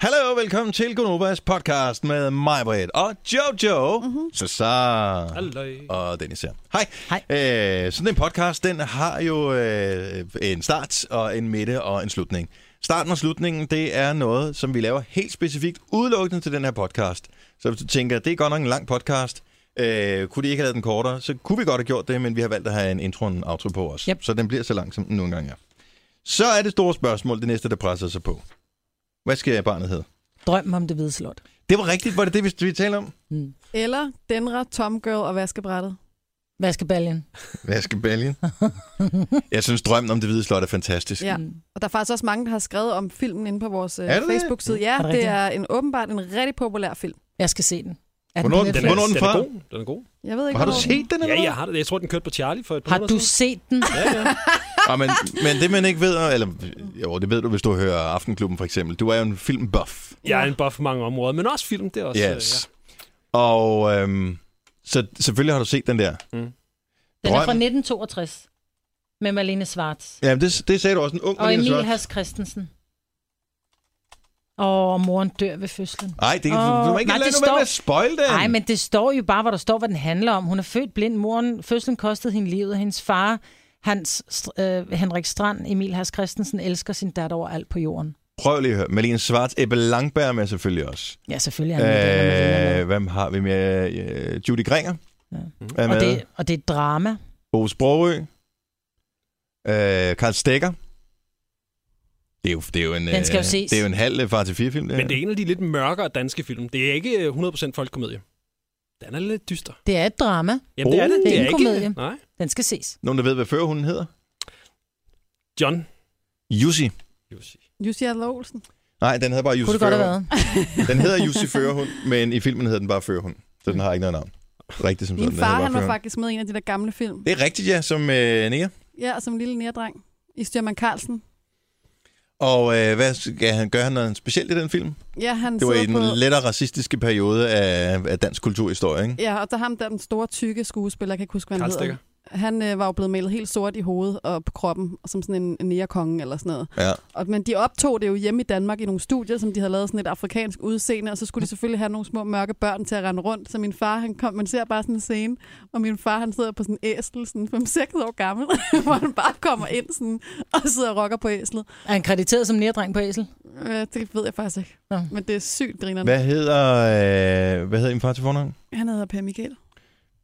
Hallo og velkommen til Gunovas podcast med mig, Britt, og Jojo, mm-hmm. Cesar og Dennis her. Hej. Hej. Øh, sådan en podcast, den har jo øh, en start og en midte og en slutning. Starten og slutningen, det er noget, som vi laver helt specifikt udelukkende til den her podcast. Så hvis du tænker, det er godt nok en lang podcast, øh, kunne de ikke have lavet den kortere, så kunne vi godt have gjort det, men vi har valgt at have en intro og en outro på os. Yep. Så den bliver så lang, som den nogle gange er. Så er det store spørgsmål, det næste, der presser sig på. Hvad skal barnet hedde? Drøm om det hvide slot. Det var rigtigt, var det det, vi, vi talte om? Mm. Eller Denra, Tom Girl og vaskebrættet. Vaskebaljen. Vaskebælgen. Jeg synes, drømmen om det hvide slot er fantastisk. Ja. Mm. Og der er faktisk også mange, der har skrevet om filmen inde på vores øh, Er det det? Facebook-side. Ja, Er det det, rigtigt? er en, åbenbart en rigtig populær film. Jeg skal se den. Er Hvornår på den- Netflix? Den er, Hvornår er den den er fra? god. Den er god. Jeg ved ikke, Har du hvor- set den? Ja, jeg har det. Jeg tror, den kørte på Charlie for et par Har måneder du set den? siden. Ja, ja. Ja, men, men det, man ikke ved, eller jo, det ved du, hvis du hører Aftenklubben for eksempel. Du er jo en filmbuff. Jeg er en buff på mange områder, men også film. Det er også, øh, Yes. Og øhm, så selvfølgelig har du set den der. Mm. Den er fra Drøm. 1962 med Malene Schwartz Ja, det, det sagde du også, en ung og Malene Emil Schwartz. Hans Christensen. Og moren dør ved fødslen. Ej, det kan Åh, du må ikke nej, lade det nu være med at står- spoil den. Nej, men det står jo bare, hvor der står, hvad den handler om. Hun er født blind. Moren, fødslen kostede hende livet. Hendes far, Hans, Str- øh, Henrik Strand, Emil Hans Christensen, elsker sin datter over alt på jorden. Prøv lige at høre. Malene Schwartz, Ebbe Langberg er med selvfølgelig også. Ja, selvfølgelig er han med, det, når man vælger Øh, noget. hvem har vi med? Øh, Judy Gringer. Ja. Er med. og, det, og det er et drama. Bo Sprogø. Øh, Karl Stegger. Det er jo, det er jo en, Den skal jo øh, ses. Det er jo en halv øh, far til fire film. ja. Men det er en af de lidt mørkere danske film. Det er ikke øh, 100% folkekomedie. Den er lidt dyster. Det er et drama. Jamen, det er det. Oh. Det er en komedie. ikke... Nej. Den skal ses. Nogen, der ved, hvad førhunden hedder? John. Jussi. Jussi. Jussi Adler Olsen. Nej, den hedder bare Kunne Jussi det godt have Førhund. været. Den hedder Jussi Førhund, men i filmen hedder den bare Førhund. Så den har ikke noget navn. Rigtigt som Min sådan. den hedder far, bare han var Førhund. faktisk med i en af de der gamle film. Det er rigtigt, ja, som øh, Nia. Ja, og som lille nærdreng i Styrman Carlsen. Og øh, hvad skal han, gør han noget specielt i den film? Ja, han Det var i sidder den på... lettere racistiske periode af, af dansk kulturhistorie, ikke? Ja, og der er ham der, den store, tykke skuespiller, jeg kan ikke huske, hvad han Karl hedder. Stikker. Han øh, var jo blevet malet helt sort i hovedet og på kroppen, og som sådan en, en nærekonge eller sådan noget. Ja. Og, men de optog det jo hjemme i Danmark i nogle studier, som de havde lavet sådan et afrikansk udseende, og så Mm. skulle de selvfølgelig have nogle små mørke børn til at rende rundt. Så min far, han kom, man ser bare sådan en scene, og min far, han sidder på sådan en æsel, sådan 5-6 år gammel, hvor han bare kommer ind sådan, og sidder og rokker på æslet. Er han krediteret som nærdreng på æsel? Øh, det ved jeg faktisk ikke, Nå. men det er sygt grinerende. Hvad hedder, øh, hvad hedder din far til fornavn? Han hedder Per Michael.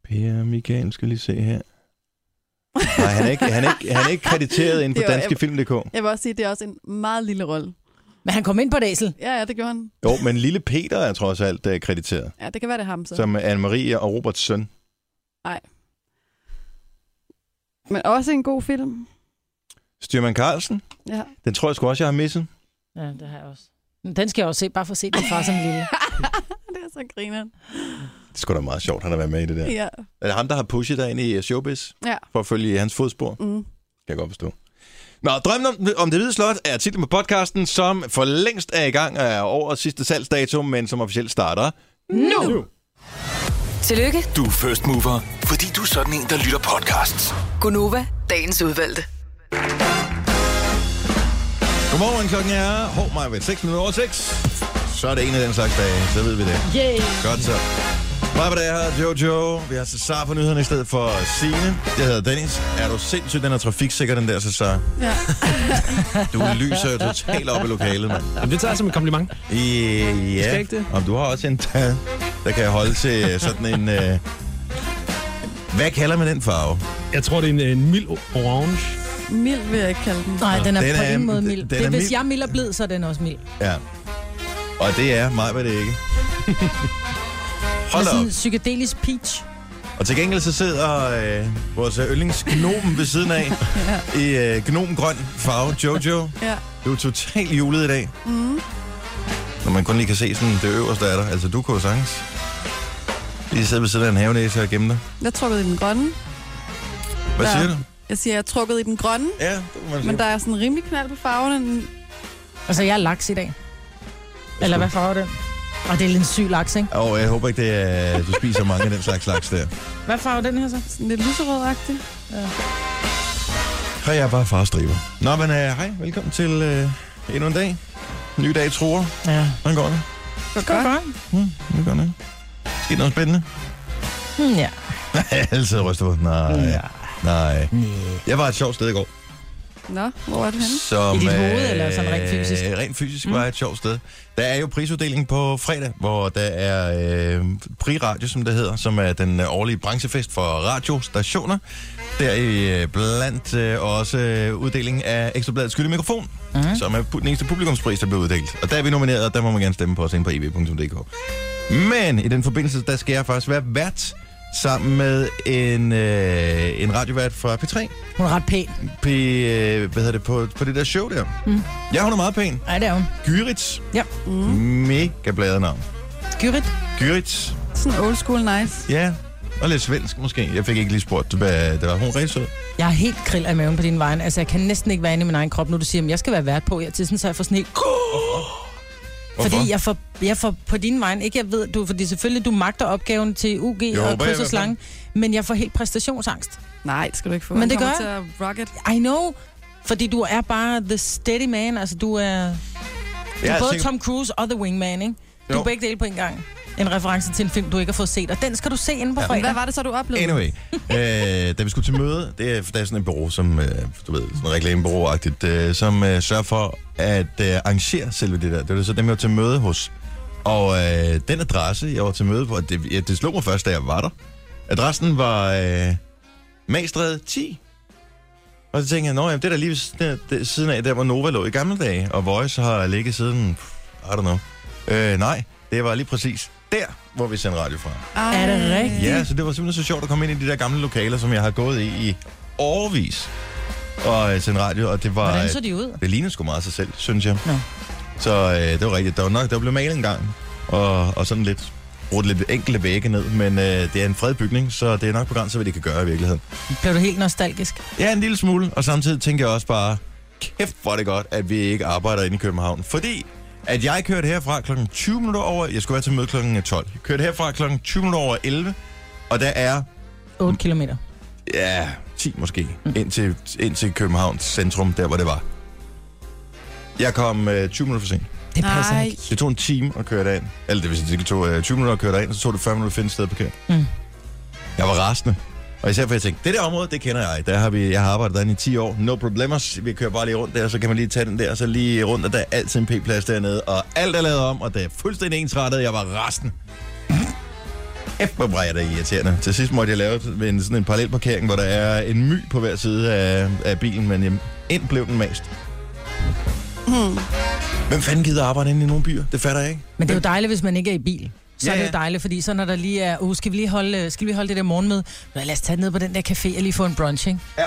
Per Michael skal lige se her. Nej, han er ikke, han er ikke, han er ikke krediteret inde på Det var- danskefilm.dk. Jeg vil også sige, at det er også en meget lille rolle. Men han kom ind på et æsel. Ja, ja, det gjorde han. Jo, men lille Peter er trods alt øh, krediteret, Ja, det kan være, det er ham så. som er Anne-Marie og Roberts søn. Men også en god film. Styrman Carlsen, Ja. den tror jeg sgu også, jeg har misset. Ja, det har jeg også. Men Den skal jeg også se, bare for at se den far som lille. det er så grineren. Det er sgu da meget sjovt, han har været med i det der. Ja. Er det ham, der har pushet dig ind i øh, showbiz? Ja. For at følge i hans fodspor? Mm. Kan jeg godt forstå. Nå, drømmen om, om det hvide slot er titlen på podcasten, som for længst er i gang og er over sidste salgsdato, men som officielt starter. Nu! nu. Tillykke, Du er first mover, fordi du er sådan en, der lytter podcasts. Gunova, dagens udvalgte. Godmorgen, klokken er hov mig ved 6 minutter over 6. Så er det en af den slags dage, så ved vi det. Yay! Godt så. Mig på det her, Jojo. Vi har Cesar på nyhederne i stedet for Signe. Jeg hedder Dennis. Er du sindssygt, den er trafiksikker, den der Cesar? Ja. Du lyser jo totalt op i lokalet, mand. Jamen, det tager jeg som en kompliment. Øh, Ja, skal ikke det. Om du har også en tand, der kan holde til sådan en... Øh... Hvad kalder man den farve? Jeg tror, det er en, en mild orange. Mild vil jeg ikke kalde den. Nej, den er Den den på er- ingen måde den- mild. den det, er er, hvis mild. jeg er mild og blid, så er den også mild. Ja. Og det er mig, hvad det ikke. Med Hold Altså, sådan op. en psykedelisk peach. Og til gengæld så sidder øh, vores yndlingsgnomen ved siden af i øh, gnomgrøn farve. Jojo, Ja. du er totalt julet i dag. Mm. Når man kun lige kan se sådan det øverste af dig. Altså, du kunne jo sagtens lige sidde ved siden af en havenæse og gemme dig. Jeg trukkede i den grønne. Hvad Ja. siger du? Jeg siger, jeg er trukket i den grønne, Ja, det kan man sige. men der er sådan rimelig knald på farverne. Altså, jeg er laks i dag. Eller hvad farve er den? Og det er lidt en syg laks, ikke? Og jeg håber ikke, det er, du spiser mange af den slags slags der. Hvad farve er den her så? Sådan lidt lyserødagtig. Så er jeg bare farstriber. Nå, men øh, hej. Velkommen til øh, endnu en dag. Nye dag tror. Ja. Hvordan går det? Godt. Godt. Hvordan går Hmm, det? Sket noget spændende? Hmm, ja. Alle sidder og ryster på. Nej. Ja. Nej. Jeg var et sjovt sted i går. Nå, hvor er du henne? Som, I dit hoved, øh, eller sådan rent fysisk? Mm. Rent fysisk var et sjovt sted. Der er jo prisuddelingen på fredag, hvor der er øh, Pri Radio, som det hedder, som er den øh, årlige branchefest for radiostationer. Der er øh, blandt øh, også øh, uddelingen af Ekstrabladets skyldig mikrofon, mm. som er pu- den eneste publikumspris, der bliver uddelt. Og der er vi nomineret, og der må man gerne stemme på os ind på eb.dk. Men i den forbindelse, der skal jeg faktisk være vært sammen med en, øh, en radiovært fra P3 Hun er ret pæn. på, øh, hvad hedder det, på, på det der show der. Hmm. Mm. Ja, hun er meget pæn. Ej, det er hun. Gyritz. Ja. Mm. Mega bladet navn. Gyrit. Gyritz. Sådan old school nice. Ja. Og lidt svensk måske. Jeg fik ikke lige spurgt, hvad det var. Hun er rigtig sød. Jeg er helt krill af maven på din vejen. Altså, jeg kan næsten ikke være inde i min egen krop, nu du siger, at jeg skal være vært på jer til, sådan, så jeg får sådan helt... Hvorfor? Fordi jeg får, jeg får på din vej, ikke jeg ved, du, fordi selvfølgelig du magter opgaven til UG håber jeg i og hvert kryds og fald. slange, men jeg får helt præstationsangst. Nej, det skal du ikke få. Men Han det kommer gør til at rocket. I know, fordi du er bare the steady man, altså du er, du Jeg er er både sikker- Tom Cruise og the wingman, ikke? Du Jo. er begge dele på en gang. En reference til en film, du ikke har fået set, og den skal du se inde på Ja. ja. Hvad fredag. var det så, du oplevede? Anyway, øh, da vi skulle til møde, det er, der er sådan et bureau, som, øh, du ved, sådan reklamebureau-agtigt, øh, som øh, sørger for at øh, arrangere selve det der. Det var så dem, jeg var til møde hos. Og øh, den adresse, jeg var til møde på, og det, ja, det slog mig først, da jeg var der. Adressen var øh, Magstræde 10. Og så tænkte jeg, nå, jamen, det er da lige ved siden af- det- siden af, der hvor Nova lå i gamle dage, og Voice har ligget siden, pff, I don't know. Øh, nej, det var lige præcis der, hvor vi sendte radio fra. Ej. Er det rigtigt? Ja, så det var simpelthen så sjovt at komme ind i de der gamle lokaler, som jeg har gået i i årvis og øh, sende radio, og det var... Hvordan øh, så de ud? Det lignede sgu meget sig selv, synes jeg. Nå. Så øh, det var rigtigt. Der var nok, der blev malet en gang, og, og sådan lidt brudt lidt enkelte vægge ned, men øh, det er en fred bygning, så det er nok begrænset, hvad de kan gøre i virkeligheden. Blev du helt nostalgisk? Ja, en lille smule, og samtidig tænker jeg også bare, kæft hvor er det godt, at vi ikke arbejder inde i København, fordi at jeg kørte herfra kl. 20 minutter over, jeg skulle være til møde kl. 12, jeg kørte herfra kl. 20 minutter over 11, og der er 8 Mm. kilometer. Ja, 10 måske. Ind til, ind til Københavns centrum, der hvor det var. Jeg kom øh, 20 minutter for sent. Det passer Nej. ikke. Det tog en time at køre derind. Eller det vil sige, det tog øh, 20 minutter at køre derind, og så tog det 40 minutter at finde et sted at parkere. Mm. Jeg var rasende. Og især for jeg tænkte, det der område, det kender jeg. Der har vi, jeg har arbejdet derinde i 10 år. No problemers. Vi kører bare lige rundt der, så kan man lige tage den der, så lige rundt, og der er altid en p-plads dernede. Og alt er lavet om, og det er fuldstændig ensrettet. Jeg var rasende. Kæft, hvor var jeg da irriterende. Til sidst måtte jeg lave en, sådan en parallelparkering, hvor der er en my på hver side af, af bilen, men jamen, ind blev den mast. Hmm. Hvem fanden gider arbejde inde i nogle byer? Det fatter jeg ikke. Men det er jo dejligt, hvis man ikke er i bil. Så Ja, ja, ja. er ja. det jo dejligt, fordi så når der lige er, uh, skal, vi lige holde, skal vi lige holde det der morgenmøde? Nå, lad os tage ned på den der café og lige få en brunch, ikke? Ja.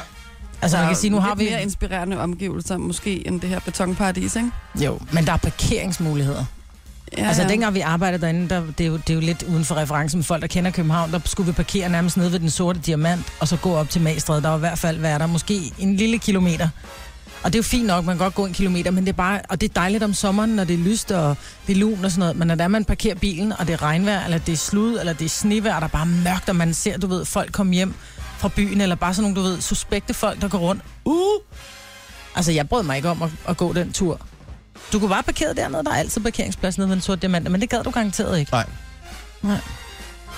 Altså, man Og kan sige, nu har lidt vi... mere inspirerende omgivelser, måske, end det her betonparadis, ikke? Jo, men der er parkeringsmuligheder. Ja, Altså, ja. dengang vi arbejdede derinde, der, det, er jo, det er jo lidt uden for referencen med folk, der kender København, der skulle vi parkere nærmest nede ved den sorte diamant, og så gå op til Magstræde. Der var i hvert fald, hvad er der, måske en lille kilometer. Og det er jo fint nok, man kan godt gå en kilometer, men det er bare, og det er dejligt om sommeren, når det er lyst og det er lun og sådan noget, men når der man parkerer bilen, og det er regnvejr, eller det er slud, eller det er snevejr, og der er bare mørkt, og man ser, du ved, folk komme hjem fra byen, eller bare sådan nogle, du ved, suspekte folk, der går rundt. Uh! Altså, jeg brød mig ikke om at, at gå den tur. Du kunne bare parkere dernede, der er altid parkeringsplads nede ved den sorte diamant, men det gad du garanteret ikke. Nej. Nej.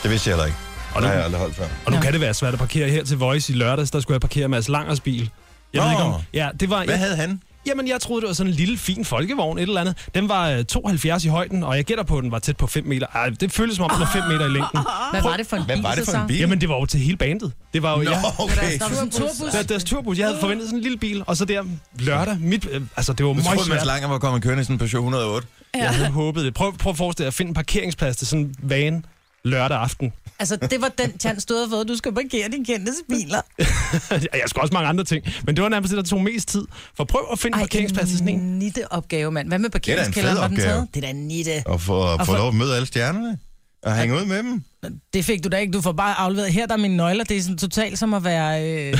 Det vidste jeg heller ikke. Det Og nu, har jeg aldrig holdt før. og nu Ja. kan det være svært at parkere her til Voice i lørdags. Der skulle jeg parkere Mads Langers bil. Jeg Nå. ved ikke om... Ja, det var... Hvad havde han? Jamen, jeg troede, det var sådan en lille, fin folkevogn, et eller andet. Den var øh, 72 i højden, og jeg gætter på, at den var tæt på 5 meter. Ej, det føles som om, den var 5 meter i længden. Hvad var det for en Hvad bil, var det så, for en så? bil? Jamen, det var jo til hele bandet. Det var jo... Nå, Jeg, okay. Der var sådan en turbus. der, deres turbus. Jeg havde forventet sådan en lille bil, og så der lørdag. Mit, øh, altså, det var Nu meget troede Mads svært. Langer var kommet kørende i sådan en Peugeot 108. Jeg havde håbet det. Prøv, prøv at forestille dig at finde en parkeringsplads til sådan en van lørdag aften. Altså, det var den chance, du havde fået. Du skal parkere dine kendte biler. jeg skulle også mange andre ting, men det var nærmest det, der tog mest tid. For prøv at finde en parkeringsplads til sådan en. en nitte opgave, mand. Hvad med er da en fed parkeringskælderen? Var den opgave. taget? Det er da en nitte. Og få, og Og få få- lov at møde alle stjernerne. Og hænge ud med dem. Det fik du da ikke. Du får bare afleveret. Her der er mine nøgler. Det er sådan totalt som at være øh, Det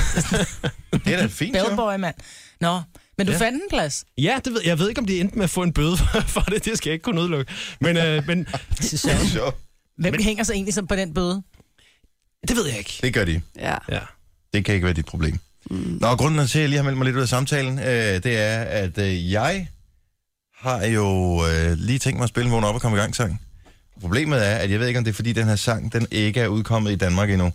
er da et fint job. bellboy, mand. Nå, men du Ja. ja. fandt en plads. Ja, det ved, jeg ved ikke, om de endte med at få en bøde for- for det. Det skal jeg ikke kunne udelukke. Men, øh, men Det er sjovt. Sjovt. Hvem Men- men... hænger sig egentlig så på den bøde? det ved jeg ikke. Det gør de. Ja. Ja. Det kan ikke være dit problem. Mm. Nå, grunden til, at jeg lige har meldt mig lidt ud af samtalen, øh, det er, at øh, jeg har jo øh, lige tænkt mig at spille vågen op og komme i gang sang. Problemet er, at jeg ved ikke, om det er fordi den her sang, den ikke er udkommet i Danmark endnu,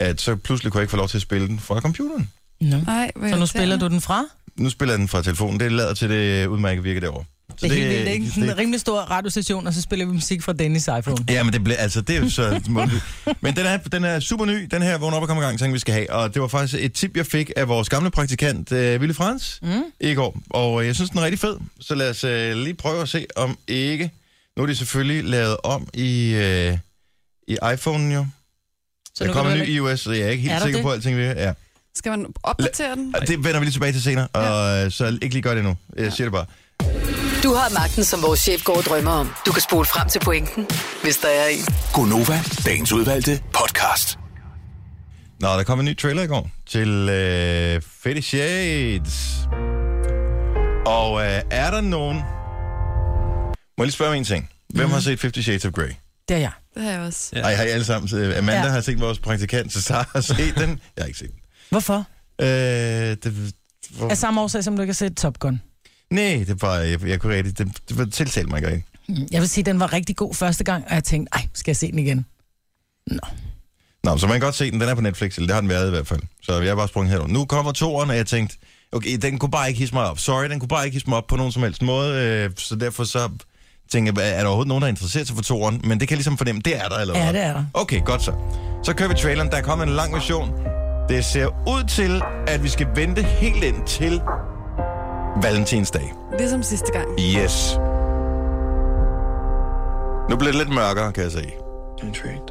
at så pludselig kunne jeg ikke få lov til at spille den fra computeren. No. Ej, hvor Så nu irriterende. spiller du den fra? Nu spiller jeg den fra telefonen. Det lader til det udmærket virke derovre. Så Det er helt vildt, ikke? Sådan det- En rimelig stor radiostation, og så spiller vi musik fra Dennis iPhone. Ja, men det blev, altså, det er jo så mundtligt. Men den er, den er super ny, den her vågn op og kom i gang, ting vi skal have. Og det var faktisk et tip, jeg fik af vores gamle praktikant, øh, Ville Frans, mm. i går. Og øh, jeg synes, den er rigtig fed. Så lad os øh, lige prøve at se, om ikke... Nu er det selvfølgelig lavet om i, øh, i iPhone, jo. Så der nu kan kommer du en ny heller- iOS, så jeg er ikke helt Er er der sikker det? på alting. ved- Ja. Skal man opdatere den? Og det vender vi lige tilbage til senere, og øh, så ikke lige gør det nu. Jeg siger det bare. Du har magten, som vores chef går og drømmer om. Du kan spole frem til pointen, hvis der er en. Gonova, dagens udvalgte podcast. Nå, der kom en ny trailer i går til øh, Fifty Shades. Og øh, er der nogen... Må jeg lige spørge om en ting? Hvem mm. har set Fifty Shades of Grey? Det er jeg. Det har jeg også. Nej, har I alle sammen set? Amanda ja. Ja. har set vores praktikant, så Sara har set den. Jeg har ikke set den. Hvorfor? Øh, det, hvor... Af altså... samme årsag, som du ikke har set Top Gun. Nej, det var, jeg, jeg kunne rigtig... Det, det var tiltalt mig ikke. rigtigt. Mm, Jeg vil sige, den var rigtig god første gang, og jeg tænkte, ej, skal jeg se den igen? Nå, så man kan godt se den. Den er på Netflix, eller det har den været i hvert fald. Så jeg er bare sprunget herover. Nu kommer toeren, og jeg tænkte, okay, den kunne bare ikke hisse mig op. Sorry, den kunne bare ikke hisse mig op på nogen som helst måde. Øh, så derfor så tænker jeg, er der overhovedet nogen, der er interesseret sig for toeren? Men det kan jeg ligesom fornemme, det er der eller Ja, hvad? det er der. Okay, godt så. Så kører vi traileren. Der er kommet en lang version. Det ser ud til, at vi skal vente helt ind til Valentinsdag. Ligesom sidste gang. Yes. Nu bliver det lidt mørkere, kan jeg se. Intrigued.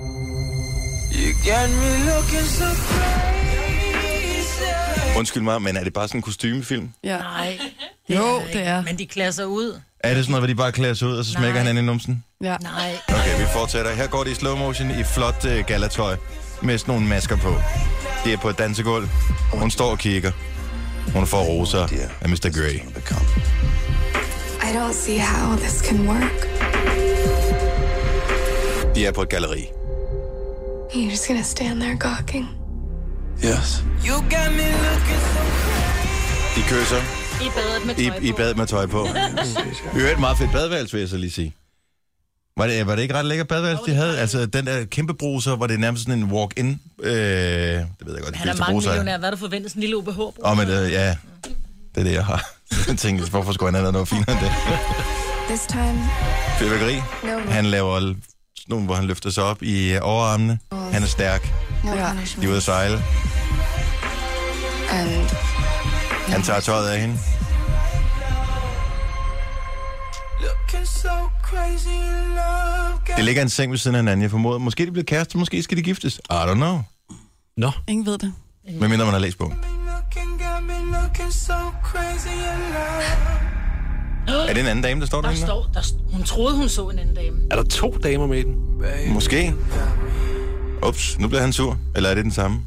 You got me looking so crazy. Undskyld mig, men er det bare sådan en kostymefilm? Ja. Nej, Jo, det er. men de klæder sig ud. Er det sådan noget, hvor de bare klæder sig ud, og så smækker Nej. han hinanden i numsen? Ja. Nej. Okay, vi fortsætter. Her går det i slow motion i flot uh, galatøj med sådan nogle masker på. Det er på et dansegulv. Hun står og kigger. Hun får roser af Mr. Grey. Become. I don't see how this can work. De er på et galleri. You're just gonna stand there gawking. Yes. You got me looking so De kysser i, i bad med tøj på. Det er et meget fedt badeværelse, vil jeg så lige sige. Var det, var det ikke ret lækker badeværelse, de havde? Altså, den der kæmpe bruser, var det nærmest sådan en walk-in. Øh, det ved jeg godt, de Han er fleste mange bruser er. millionær. Hvad er der forventet? Sådan en lille OBH? Åh, men øh, ja, det er det, jeg har. Jeg tænkte, hvorfor skulle han have lavet noget finere end det? This time, Fyrværkeri. no, Han laver l- sådan nogle, hvor han løfter sig op i øh, overarmene. Han er stærk. no Yeah. De er ude punishment. at sejle. And Han tager tøjet af hende. looking so crazy in love. Det ligger en seng ved siden af hinanden. Jeg formoder, måske de bliver kærester, måske skal de giftes. I don't know. Nå, Ingen ved det. Hvad mindre man har læst bogen. Looking got me looking so crazy in love. Er det en anden dame, der står Der derinde? står, der, st- hun troede, hun så en anden dame. er der to damer med i den? Måske. Ups, nu bliver han sur. Eller er det den samme?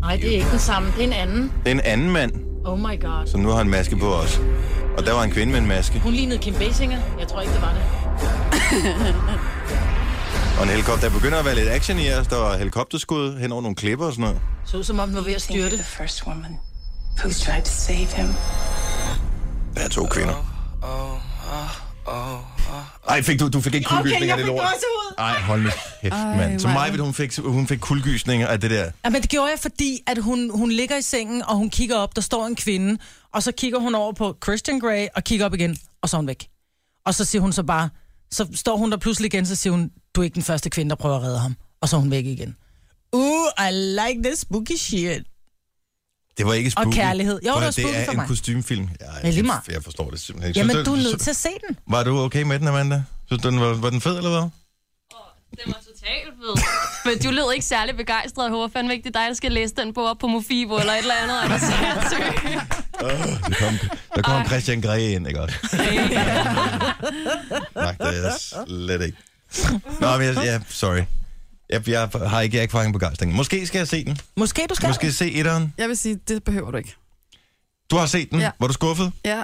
Nej, det er ikke den samme. Det er en anden. Det er en anden mand, Oh my god. som nu har en maske på os. Og der var en kvinde med en maske. Hun lignede Kim Basinger. Jeg tror ikke, det var det. Og en helikopter. Der begynder at være lidt action i os. Der var helikopterskud hen over nogle klipper og sådan noget. Så ud, som om hun var ved at styrte. The first woman who tried to save him. Der er to kvinder. Ej, fik du, du fik ikke kuldegysninger af det lort. Ej, hold nu kæft, mand. Så hvor er mig, hun fik, hun fik kuldegysninger af det der. Ja, men det gjorde jeg, fordi at hun, hun ligger i sengen, og hun kigger op. Der står en kvinde, og så kigger hun over på Christian Grey, og kigger op igen, og så er hun væk. Og så siger hun så bare, så står hun der pludselig igen, så siger hun, du er ikke den første kvinde, der prøver at redde ham. Og så er hun væk igen. Uh, I like this spooky shit. Det var ikke spooky. kærlighed. Jo, det Prøv at var høre, spooky det er for en mig. kostymefilm. Ja, Ja, jeg, lige meget. jeg forstår det simpelthen ikke. Jamen, Synes du er nødt til at se den. Var du okay med den, Amanda? Synes du, den var, var den fed, eller hvad? Den var totalt fed. Men du lød ikke særlig begejstret. Jeg håber fandme ikke, det er dig, der skal læse den bog op på Mofibo eller et eller andet. Er du sindssyg? Der kom, der kom Christian Grey ind, ikke også? Nej, det er slet ikke. Nå, men jeg, ja, sorry. Jeg, jeg har ikke, jeg er ikke fanget begejstring. Måske skal jeg se den. Måske du skal. Måske se etteren. Jeg vil sige, det behøver du ikke. Du har set den. Ja. Var du skuffet? Ja.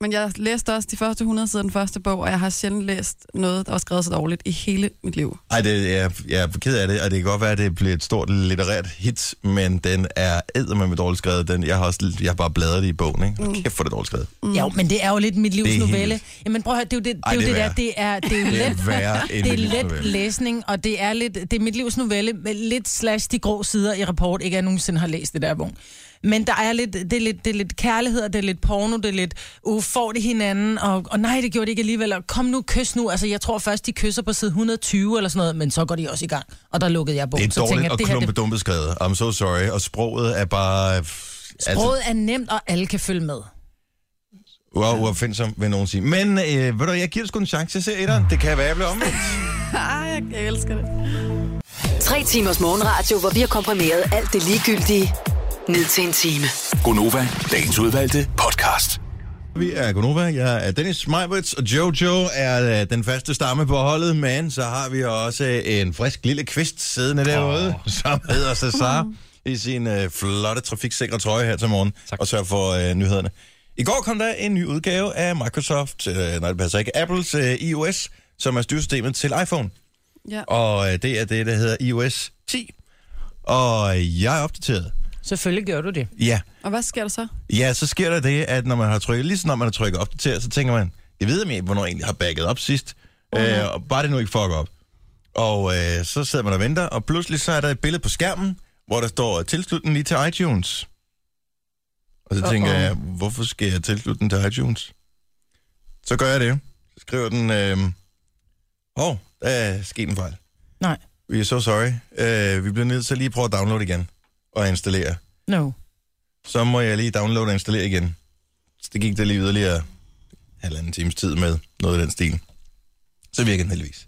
Men jeg læste også de første 100 sider af den første bog, og jeg har sjældent læst noget, der var skrevet så dårligt i hele mit liv. Ej, det, jeg, jeg er ked af det, og det kan godt være, at det bliver et stort litterært hit, men den er eddermame dårligt skrevet. Den, jeg, har også, jeg har bare bladret i bogen, ikke? Mm. Kæft for det dårligt skrevet. Mm. Jo, men det er jo lidt mit livs Det er novelle. helt- Jamen prøv at høre, det er jo det, det, Ej, er jo det det, er værre. der, det er, det er jo Det er let, værre end det er mit livs let novelle. læsning, og det er lidt, det er mit livs novelle, men lidt slash de grå sider i rapport, ikke at jeg nogensinde har læst det der bog. Men der er lidt, det er lidt, det er lidt kærlighed, og det er lidt porno, det er lidt, uh, får det hinanden, og, og nej, det gjorde det ikke alligevel, og kom nu, kys nu. Altså, jeg tror først, de kysser på side 120 eller sådan noget, men så går de også i gang, og der lukkede jeg bogen. Det er så tænker dårligt jeg, og det her, det- klumpedumpet skrevet. I'm so sorry. Og sproget er bare... Altså, Sproget er nemt, og alle kan følge med. wow, uopfindsom, vil nogen sige. Men øh, ved du, jeg giver det sgu en chance til etteren. Det kan være, jeg bliver omvendt. Ej, jeg, jeg elsker det. Tre timers morgenradio, hvor vi har komprimeret alt det ligegyldige ned til en time. Gonova, dagens udvalgte podcast. Vi er Gunova, jeg er Dennis Meiberts, og Jojo er øh, den faste stamme på holdet, men så har vi også øh, en frisk lille kvist siddende derude, oh. som hedder Cesar i sin øh, flotte trafiksikre trøje her til morgen, tak. og sørger for øh, nyhederne. I går kom der en ny udgave af Microsoft, øh, nej det passer ikke, Apples øh, iOS, som er styresystemet til iPhone. Ja. Og øh, det er det, der hedder iOS 10. Og jeg er opdateret. Selvfølgelig gør du det. Ja, Og hvad sker der så? Ja, så sker der det, at når man har trykket, lige så når man har trykket opdater, så tænker man, jeg ved ikke, hvornår jeg egentlig har bagget op sidst. Øh, og bare det nu ikke fucker op. Og øh, så sidder man og venter, og pludselig så er der et billede på skærmen, hvor der står tilslutning lige til iTunes. Og så Uh-oh. tænker jeg, hvorfor skal jeg tilslutte den til iTunes? Så gør jeg det. Så skriver den, øh, hov, oh, der er sket en fejl. Nej. Vi er så sorry. Øh, vi bliver nødt til at lige prøve at downloade igen og installere No. så må jeg lige downloade og installere igen. Så det gik der lige yderligere halvanden times tid med noget af den stil. Så virker den heldigvis.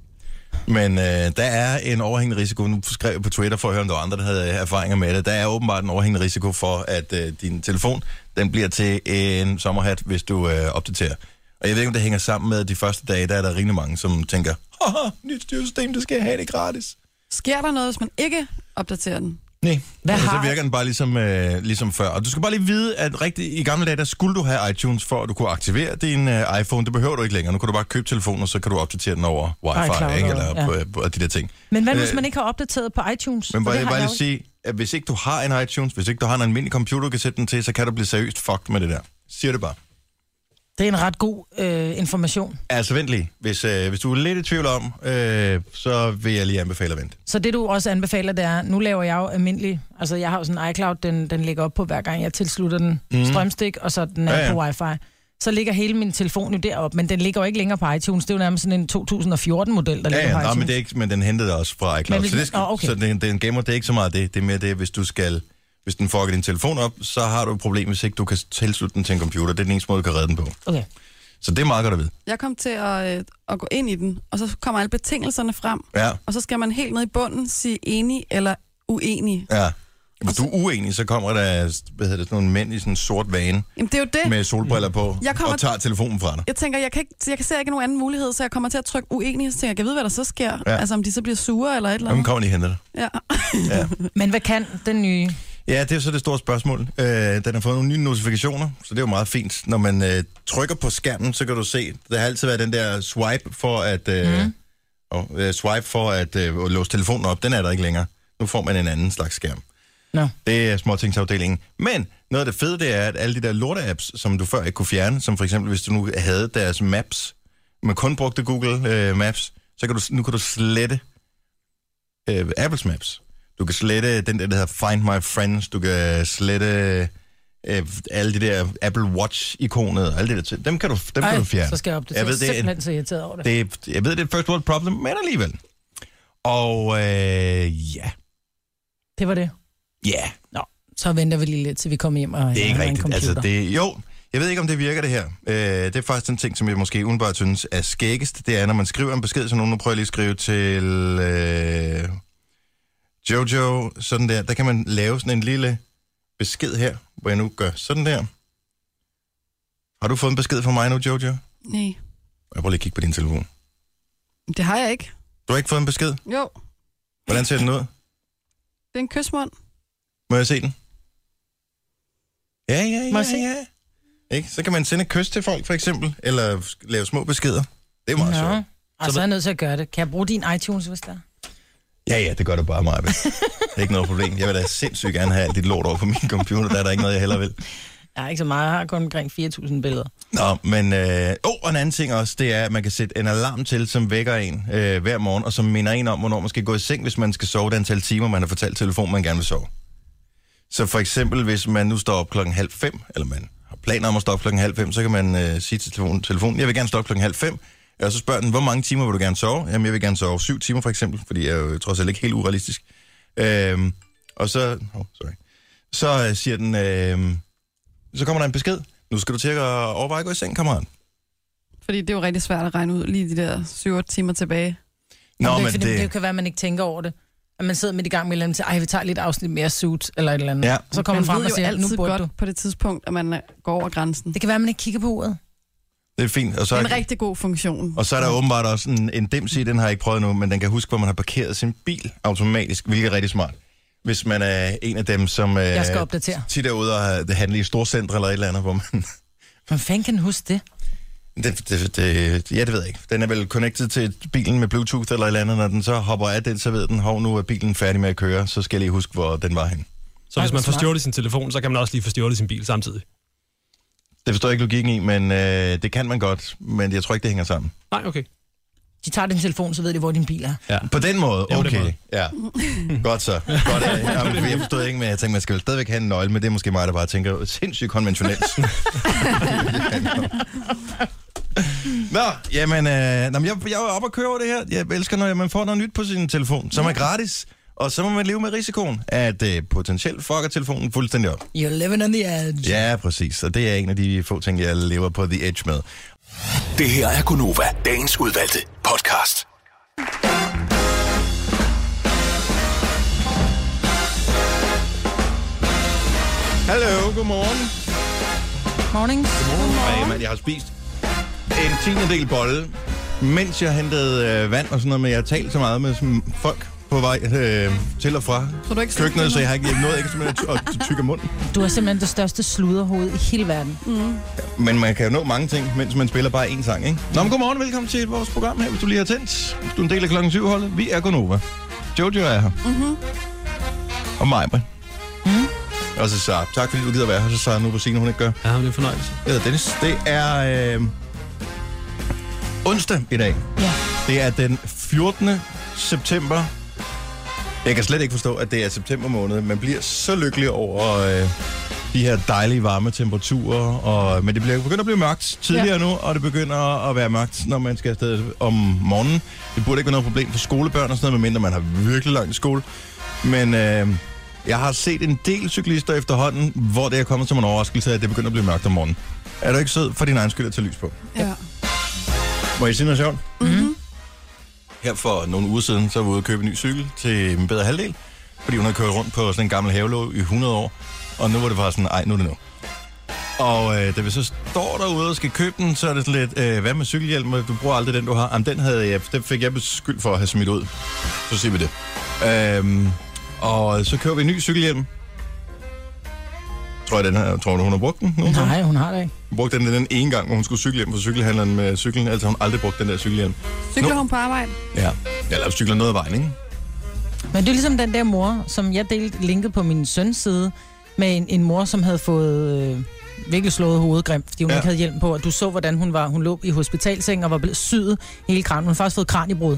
Men øh, der er en overhængende risiko, nu skrev jeg på Twitter for at høre, om der var andre, der havde øh, erfaringer med det. Der er åbenbart en overhængende risiko for, at øh, din telefon den bliver til en sommerhat, hvis du øh, opdaterer. Og jeg ved ikke, om det hænger sammen med, at de første dage, der er der rimelig mange, som tænker, Haha, nyt styresystem, det skal jeg have det gratis. Sker der noget, hvis man ikke opdaterer den? Nej, Hvad og så har- virker den bare ligesom, øh, ligesom før. Og du skal bare lige vide, at rigtig, i gamle dage, der skulle du have iTunes, for at du kunne aktivere din øh, iPhone. Det behøver du ikke længere. Nu kan du bare købe telefonen, og så kan du opdatere den over wifi, iCloud, ikke? eller ja. ja. på, på de der ting. Men hvad nu, hvis Øh, man ikke har opdateret på iTunes? Men For bare, det jeg har vil bare jeg lige jo sige, at hvis ikke du har en iTunes, hvis ikke du har en almindelig computer, du kan sætte den til, så kan du blive seriøst fucked med det der. Siger det bare. ikke. Det er en ret god øh, information. Altså vent lige. Hvis, øh, hvis du er lidt i tvivl om, øh, så vil jeg lige anbefale at vente. Så det, du også anbefaler, det er, nu laver jeg jo almindelig... Altså, jeg har jo sådan en iCloud, den, den ligger op på, hver gang jeg tilslutter den Mhm. mm. strømstik, og så den er Ja, ja, ja. ja. på wifi. Så ligger hele min telefon jo deroppe, men den ligger jo ikke længere på iTunes. Det er jo nærmest sådan en 2014-model, der ligger Ja, på ja, nej, iTunes. men, det er ikke, men den hentede også fra iCloud. Men hvis så det man- skal, Nå, okay. så den, den gemmer det er ikke så meget det. Det er mere det, hvis du skal... Hvis den fucker din telefon op, så har du et problem, hvis ikke du kan tilslutte den til en computer. Det er den eneste måde, du kan redde den på. Okay. Så det er meget godt at vide. Jeg kom til at, øh, at gå ind i den, og så kommer alle betingelserne frem. Ja. Og så skal man helt ned i bunden sige enig eller uenig. ja. Hvis du er uenig, så kommer der hvad hedder det, sådan nogle mænd i sådan en sort vane Jamen, det er jo det. med solbriller på Jeg kommer- og tager telefonen fra dig. Jeg tænker, jeg, kan ikke, jeg kan se ikke nogen anden mulighed, så jeg kommer til at trykke uenig, og så tænker jeg, jeg ved, hvad der så sker. Ja. Ja. Altså, om de så bliver sure eller et eller Jamen, andet. kommer lige og henter dig. Ja. Ja. Men hvad kan den nye... Ja, det er så det store spørgsmål. Øh, den har fået nogle nye notifikationer, så det er jo meget fint. Når man øh, trykker på skærmen, så kan du se, der har altid været den der swipe for at, øh, mm. og, øh, swipe for at øh, at låse telefonen op. Den er der ikke længere. Nu får man en anden slags skærm. Nå. Det er småtingsafdelingen. Men noget af det fede, det er, at alle de der lorte-apps, som du før ikke kunne fjerne, som for eksempel hvis du nu havde deres maps, men kun brugte Google øh, Maps, så kan du, nu kan du slette øh, Apples Maps. Du kan slette den der, der hedder Find My Friends. Du kan slette øh, alle de der Apple Watch-ikonet og alle de der ting. Dem kan du, dem Ej, kan du fjerne. Så skal jeg opdatere. Jeg ved, det er en- simpelthen så irriteret over det. det, er- jeg ved, det er et first world problem, men alligevel. Og øh, ja, det var det. ja, Nå, så venter vi lige lidt, til vi kommer hjem og det er ikke har en rigtigt. computer. Altså, det, jo, jeg ved ikke, om det virker det her. Øh, det er faktisk en ting, som jeg måske udenbart synes er skæggest. Det er, når man skriver en besked, som nogen nu prøver jeg lige at skrive til øh, Jojo, sådan der. Der kan man lave sådan en lille besked her, hvor jeg nu gør sådan der. Har du fået en besked fra mig nu, Jojo? Nej, Jeg prøver lige at kigge på din telefon. det har jeg ikke. Du har ikke fået en besked? Jo, Hvordan ser den ud? det er en kysmund. Må jeg se den? Ja, ja, ja, Må jeg se? ja. Ikke? Så kan man sende et kys til folk, for eksempel, eller sk- lave små beskeder. Det er meget Nå. sjovt. Og så er jeg nødt til at gøre det. Kan jeg bruge din iTunes, hvis der er? Ja, ja, det gør du bare mig. Det er ikke noget problem. Jeg vil da sindssygt gerne have alt dit lort over på min computer. Der er der ikke noget, jeg heller vil. Jeg har ikke så meget. Jeg har kun omkring 4.000 billeder. Nå, men... Øh, oh, og en anden ting også, det er, at man kan sætte en alarm til, som vækker en øh, hver morgen, og som minder en om, hvornår man skal gå i seng, hvis man skal sove det antal timer, man har fortalt telefonen, man gerne vil sove. Så for eksempel, hvis man nu står op klokken halv fem, eller man har planer om at stå op klokken halv fem, så kan man øh, sige til telefonen, telefonen, jeg vil gerne stå op klokken halv fem, og så spørger den, hvor mange timer vil du gerne sove? Jamen, jeg vil gerne sove syv timer, for eksempel, fordi jeg er jo trods alt ikke helt urealistisk. Øhm, og så... Oh, sorry. Så øh, siger den... Øh, så kommer der en besked. Nu skal du til at overveje at gå i seng, kammerat. Fordi det er jo rigtig svært at regne ud lige de der 7 timer tilbage. Nå, Nå, men det, men det... det- det kan være, at man ikke tænker over det. At man sidder midt i gang med et eller andet, og siger, ej, vi tager lidt afsnit mere suit, eller et eller andet. Ja. Så kommer man man frem ved og jo siger, nu altid burde godt du. på det tidspunkt, at man er- går over grænsen. Det kan være, at man ikke kigger på uret. Det er fint. Og Det så, er en rigtig god funktion. og så er der åbenbart også en, en dimsi, den har jeg ikke prøvet nu, men den kan huske, hvor man har parkeret sin bil automatisk, hvilket er rigtig smart. Hvis man er en af dem, som øh, Jeg skal opdatere. tit er ude og øh, handle i storcentre eller et eller andet, hvor man... Hvor fanden kan den huske det? Det, det, det, ja, det ved jeg ikke. Den er vel connected til bilen med Bluetooth eller et eller andet. Når den så hopper af den, så ved den, hov, nu er bilen færdig med at køre, så skal jeg lige huske, hvor den var hen. Så hvis man får stjålet sin telefon, så kan man også lige få stjålet sin bil samtidig. Det forstår jeg ikke logikken i, men øh, det kan man godt, men jeg tror ikke, det hænger sammen. Nej, okay. De tager din telefon, så ved de, hvor din bil er. Ja. På den måde, Ja, på den okay. måde. Ja. Godt så. Godt, ja. Jamen, jeg forstod ikke, men jeg tænkte, man skal vel stadigvæk have en nøgle, men det er måske mig, der bare tænker sindssygt konventionelt. Nå, jamen, øh, nå, men jeg, jeg er oppe og køre over det her. Jeg elsker, når man får noget nyt på sin telefon, som er gratis. Og så må man leve med risikoen, at øh, potentielt fucker telefonen fuldstændig op. You're living on the edge. Ja, præcis. Og det er en af de få ting, jeg lever på The Edge med. Det her er Gunova, dagens udvalgte podcast. Hallo, godmorgen. Morning. Ej, mand, jeg har spist en tiende del bolle, mens jeg hentede øh, vand og sådan noget, men jeg har talt så meget med sådan, folk på vej øh, til og fra Så du ikke sådan køkkenet, så kender? jeg har ikke jeg nåede ikke simpelthen at ty- at tykke munden. Du er simpelthen det største sluderhoved i hele verden. Mm. Men man kan jo nå mange ting, mens man spiller bare én sang, ikke? Nå, men godmorgen, velkommen til vores program her, hvis du lige har tændt. Hvis du er en del af klokken syv holdet, vi er Gonova. Jojo er her, Mm-hmm. og mig, mm. Og så Sara. Tak fordi du gider være her, så Sara nu på scenen, hun ikke gør. Ja, men det er en fornøjelse. Jeg hedder Dennis. Det er øh, onsdag i dag. Ja. Det er den 14. september. Jeg kan slet ikke forstå, at det er september måned. Man bliver så lykkelig over øh, de her dejlige varme temperaturer. Og, men det bliver, begynder at blive mørkt tidligere Ja. ja. nu, og det begynder at være mørkt, når man skal afsted om morgenen. Det burde ikke være noget problem for skolebørn og sådan noget, medmindre man har virkelig langt skole. Men øh, jeg har set en del cyklister efterhånden, hvor det er kommet som en overraskelse, at det begynder at blive mørkt om morgenen. Er du ikke sød for din egen skyld at tage lys på? Ja. Må jeg sige noget sjovt? Mm-hmm. Her for nogle uger siden, så var jeg ude og købe en ny cykel til min bedre halvdel, fordi hun havde kørt rundt på sådan en gammel havelåg i 100 år, og nu var det bare sådan, ej, nu er det nu. Og øh, da vi så står derude og skal købe den, så er det sådan lidt, øh, hvad med cykelhjelm? Du bruger aldrig den, du har. Jamen, den, havde jeg, den fik jeg beskyldt for at have smidt ud. Så siger vi det. Øhm, og så køber vi en ny cykelhjelm. Tror jeg, den her, tror du, hun har brugt den? Nu? Nej, hun har det ikke. Hun brugte den den ene gang, hvor hun skulle cykle hjem fra cykelhandleren med cyklen. Altså, hun har aldrig brugt den der cykelhjelm. Cykler Nu- hun på arbejde? Ja. Eller cykler noget af vejen, ikke? Men det er ligesom den der mor, som jeg delte linket på min søns side, med en, en mor, som havde fået øh, virkelig slået hovedet grimt, fordi hun Ja. ja. ikke havde hjelm på, og du så, hvordan hun var. Hun lå i hospitalseng og var blevet syet hele kranen. Hun har faktisk fået kranjebrud.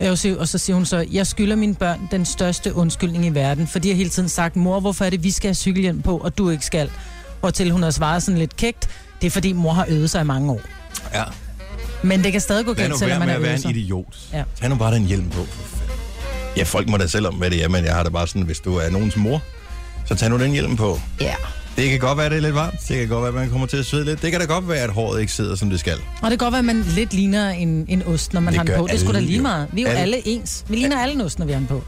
Øh, Og så- og så siger hun så, jeg skylder mine børn den største undskyldning i verden, for de har hele tiden sagt, mor, hvorfor er det, vi skal have cykelhjelm på, og du ikke skal? Og til hun har svaret sådan lidt kægt, det er fordi mor har øvet sig i mange år. Ja. Men det kan stadig gå Lad nu galt, være selvom man med har at være øvet en sig. idiot. Ja. Tag nu bare den hjelm på. for fanden. Ja, folk må da selv om, hvad det er, men jeg har det bare sådan, hvis du er nogens mor, så tag nu den hjelm på. Ja. Det kan godt være, det er lidt varmt. Det kan godt være, man kommer til at svede lidt. Det kan da godt være, at håret ikke sidder, som det skal. Og det kan godt være, at man lidt ligner en, en ost, når man Det har den gør på. Det skulle da alle lige jo. meget. Vi er jo Alle- alle, ens. Vi ligner alle en ost, når vi har den på.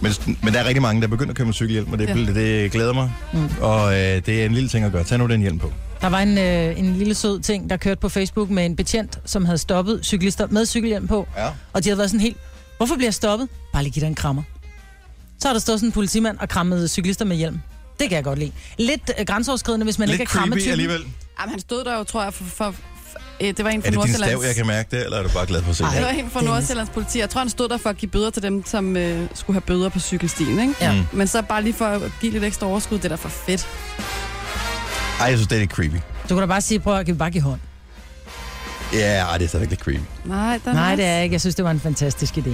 Men, men der er rigtig mange, der begynder at købe med cykelhjelm, og det, Ja. ja. det glæder mig. Mm. Og øh, det er en lille ting at gøre. Tag nu den hjelm på. Der var en, øh, en lille sød ting, der kørte på Facebook med en betjent, som havde stoppet cyklister med cykelhjelm på. Ja. Og de havde været sådan helt, hvorfor bliver jeg stoppet? Bare lige give dig en krammer. Så har der stået sådan en politimand og krammet cyklister med hjelm. Det kan jeg godt lide. Lidt øh, grænseoverskridende, hvis man Lidt ikke er krammet creepy til alligevel. Jamen, han stod der jo, tror jeg, for... for, for øh, det var en Er det fra din Nordsjællands... stav, jeg kan mærke det, eller er du bare glad for at se det var det? en fra Nordsjællands politi. Jeg tror, han stod der for at give bøder til dem, som øh, skulle have bøder på cykelstien, ikke? Ja. Mm. Men så bare lige for at give lidt ekstra overskud, det er da for fedt. Ej, jeg synes, det er lidt creepy. Du kan da bare sige, prøv at give bare give hånd. Ja, ej, det er stadigvæk lidt creepy. Nej, der Nej, det er jeg ikke. Jeg synes, det var en fantastisk idé.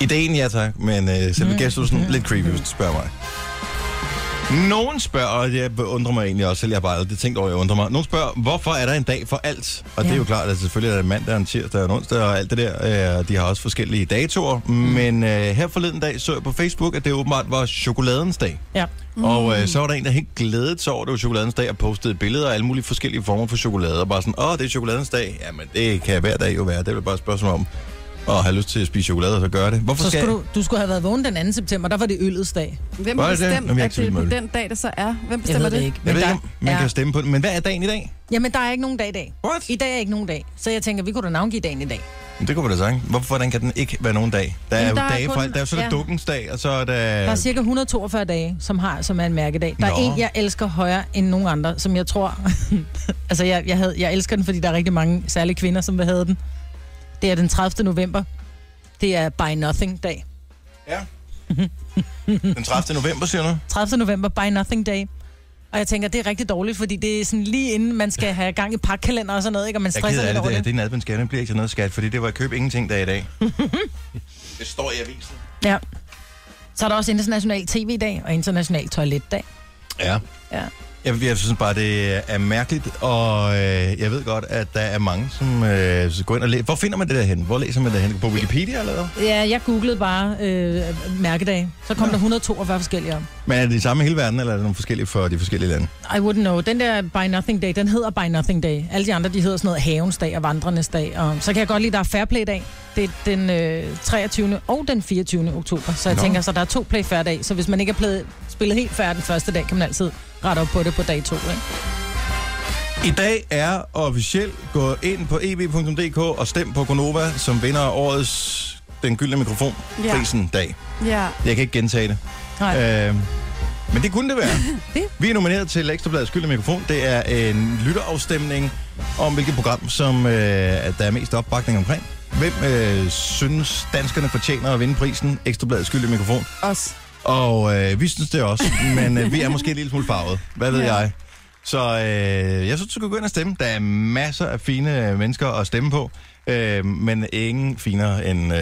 Ideen, ja tak, men øh, selve mm. gæstusen, lidt creepy, hvis du spørger mig. Nogen spørger, og jeg undrer mig egentlig også, selv jeg har bare aldrig tænkt over, jeg undrer mig. Nogen spørger, hvorfor er der en dag for alt? Og ja. det er jo klart, at selvfølgelig er der en mandag, og en tirsdag, og en onsdag og alt det der. Øh, de har også forskellige datoer, mm. men øh, her forleden dag så jeg på Facebook, at det åbenbart var chokoladens dag. Ja. Mm. Og øh, så var der en, der helt glædede sig over, at det var chokoladens dag, og postede billeder af alle mulige forskellige former for chokolade. Og bare sådan, åh, det er chokoladens dag. Jamen, det kan hver dag jo være. Det er vel bare et spørgsmål om at have lyst til at spise chokolade, og så gøre det. Hvorfor Så skal skulle du, du skulle have været vågen den 2. september. Der var det øllets dag. Hvem Var har det det? bestemt, Jamen, jeg er at ikke det vild er på med det. den dag, det så er? Hvem bestemmer ved det det? ikke. Jeg Men ved der ikke, om man er- kan stemme på den. Men hvad er dagen i dag? Jamen, der er ikke nogen dag i dag. What? I dag er ikke nogen dag. Så jeg tænker, vi kunne da navngive dagen i dag. Men Det kunne vi da sige. Hvorfor hvordan kan den ikke være nogen dag? Der er jo Jamen, der er dage for kun- alt. Der er jo så ja. ja. dukkens dag, og så er der... Der er cirka 142 dage, som, har, som er en mærkedag. Der er Nå. en, jeg elsker højere end nogen andre, som jeg tror... altså, jeg, jeg, havde, jeg elsker den, fordi der er rigtig mange særlige kvinder, som havde den. Det er den 30. november. Det er Buy Nothing-dag. Den 30. november, siger du? 30. november, Buy Nothing Day. Og jeg tænker, det er rigtig dårligt, fordi det er sådan lige inden, man skal have gang i pakkalender og sådan noget, ikke? Og man Jeg stresser gider af lidt det, over det, her. det. det er en adventskat. Det bliver ikke til noget skat, fordi det var køb ingenting dag i dag. det står i avisen. Ja. Så er der også international tv-dag og international toiletdag. Ja. Ja. Jeg, jeg synes bare, det er mærkeligt, og øh, jeg ved godt, at der er mange, som øh, så går ind og læser. Hvor finder man det der hen? Hvor læser man det hen? På Wikipedia eller hvad? Ja, jeg googlede bare øh, mærkedag. Så kom ja. der 142 forskellige om. Men er det de samme i hele verden, eller er det nogle forskellige for de forskellige lande? I wouldn't know. Den der Buy Nothing Day, den hedder Buy Nothing Day. Alle de andre, de hedder sådan noget Havens Dag og Vandrenes Dag. Og så kan jeg godt lide, der er Fairplay Dag. Det er den øh, 23. og den 24. oktober. Så jeg Nå. Nå. tænker, så der er to play færre dag. Så hvis man ikke er blevet, spillet helt færdig den første dag, kan man altid rette op på det på dag to. Ikke? I dag er officielt gå ind på E eb.dk og stem på Gonova, som vinder årets Den Gyldne Mikrofon Ja. prisen dag. Ja. Jeg kan ikke gentage det. Nej. Øh, men det kunne det være. Det. Vi er nomineret til Ekstrabladets Gyldne Mikrofon. Det er en lytterafstemning om, hvilket program, som øh, at der er mest opbakning omkring. Hvem øh, synes, danskerne fortjener at vinde prisen Ekstrabladets Gyldne Mikrofon? Os. Og øh, vi synes det også, men øh, vi er måske en lille smule farvet. Hvad ved ja. jeg? Så øh, jeg synes, du skal gå ind og stemme. Der er masser af fine øh, mennesker at stemme på, øh, men ingen finere end øh,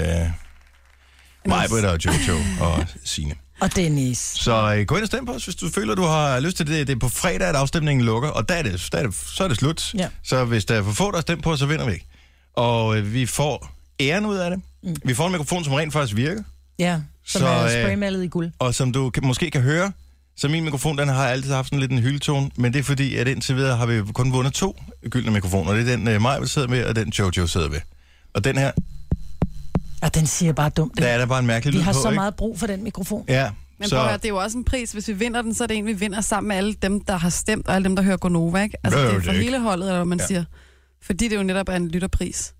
Majbrit og Jojo og Signe. Og Dennis. Så øh, gå ind og stem på os, hvis du føler, du har lyst til det. Det er på fredag, at afstemningen lukker, og der er det, der er det, så er det slut. Ja. Så hvis der er for få, der har stemt på os, så vinder vi ikke. Og øh, vi får æren ud af det. Mm. Vi får en mikrofon, som rent faktisk virker. Ja, som Så, så, er øh, spraymalet i guld. Og som du kan, måske kan høre, så min mikrofon, den har altid haft sådan lidt en hyldetone, men det er fordi, at indtil videre har vi kun vundet to gyldne mikrofoner. Det er den øh, Maja sidder med, og den Jojo sidder med. Og den her, Og den siger bare dumt. der er der bare en mærkelig Vi lyd har på, så ikke? meget brug for den mikrofon. Ja, Men prøv at høre, så det er jo også en pris. Hvis vi vinder den, så er det en, vi vinder sammen med alle dem, der har stemt, og alle dem, der hører Gonova, ikke? Altså, Det er det jo er for det ikke. hele holdet, eller hvad man Ja. ja. siger. Fordi det jo netop er en lytterpris.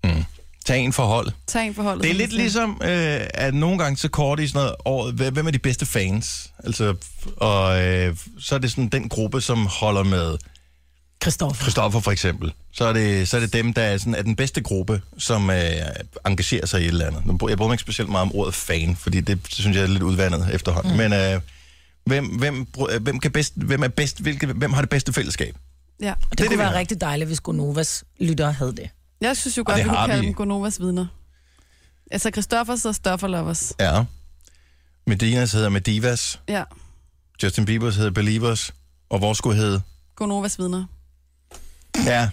tag en forhold. Tag en for holdet. Det er som lidt man siger. ligesom, øh, at nogle gange så kort i sådan noget året, hvem- hvem er de bedste fans? Altså, f- og øh, så er det sådan den gruppe, som holder med Christoffer. Christoffer for eksempel, så er det, så er det dem, der er, sådan, er den bedste gruppe, som øh, engagerer sig i et eller andet. Nu bruger- Jeg bruger ikke specielt meget om ordet fan, fordi det synes jeg er lidt udvandet efterhånden. Mm. Men øh, hvem, hvem, bru- øh, hvem, kan bedst, hvem, er bedst, hvilke, hvem har det bedste fællesskab? Ja. Og det, det, det kunne vi det, være har. rigtig dejligt, hvis Gonovas lyttere havde det. Jeg synes jo godt, det vi kunne har kalde vi. dem Gonovas vidner. Altså, Christoffers og Stoffer Lovers. Ja. Medinas hedder Medivas, Ja, Justin Bieber's hedder Believers, og vores skulle hedde... Gonovas vidner. Ja,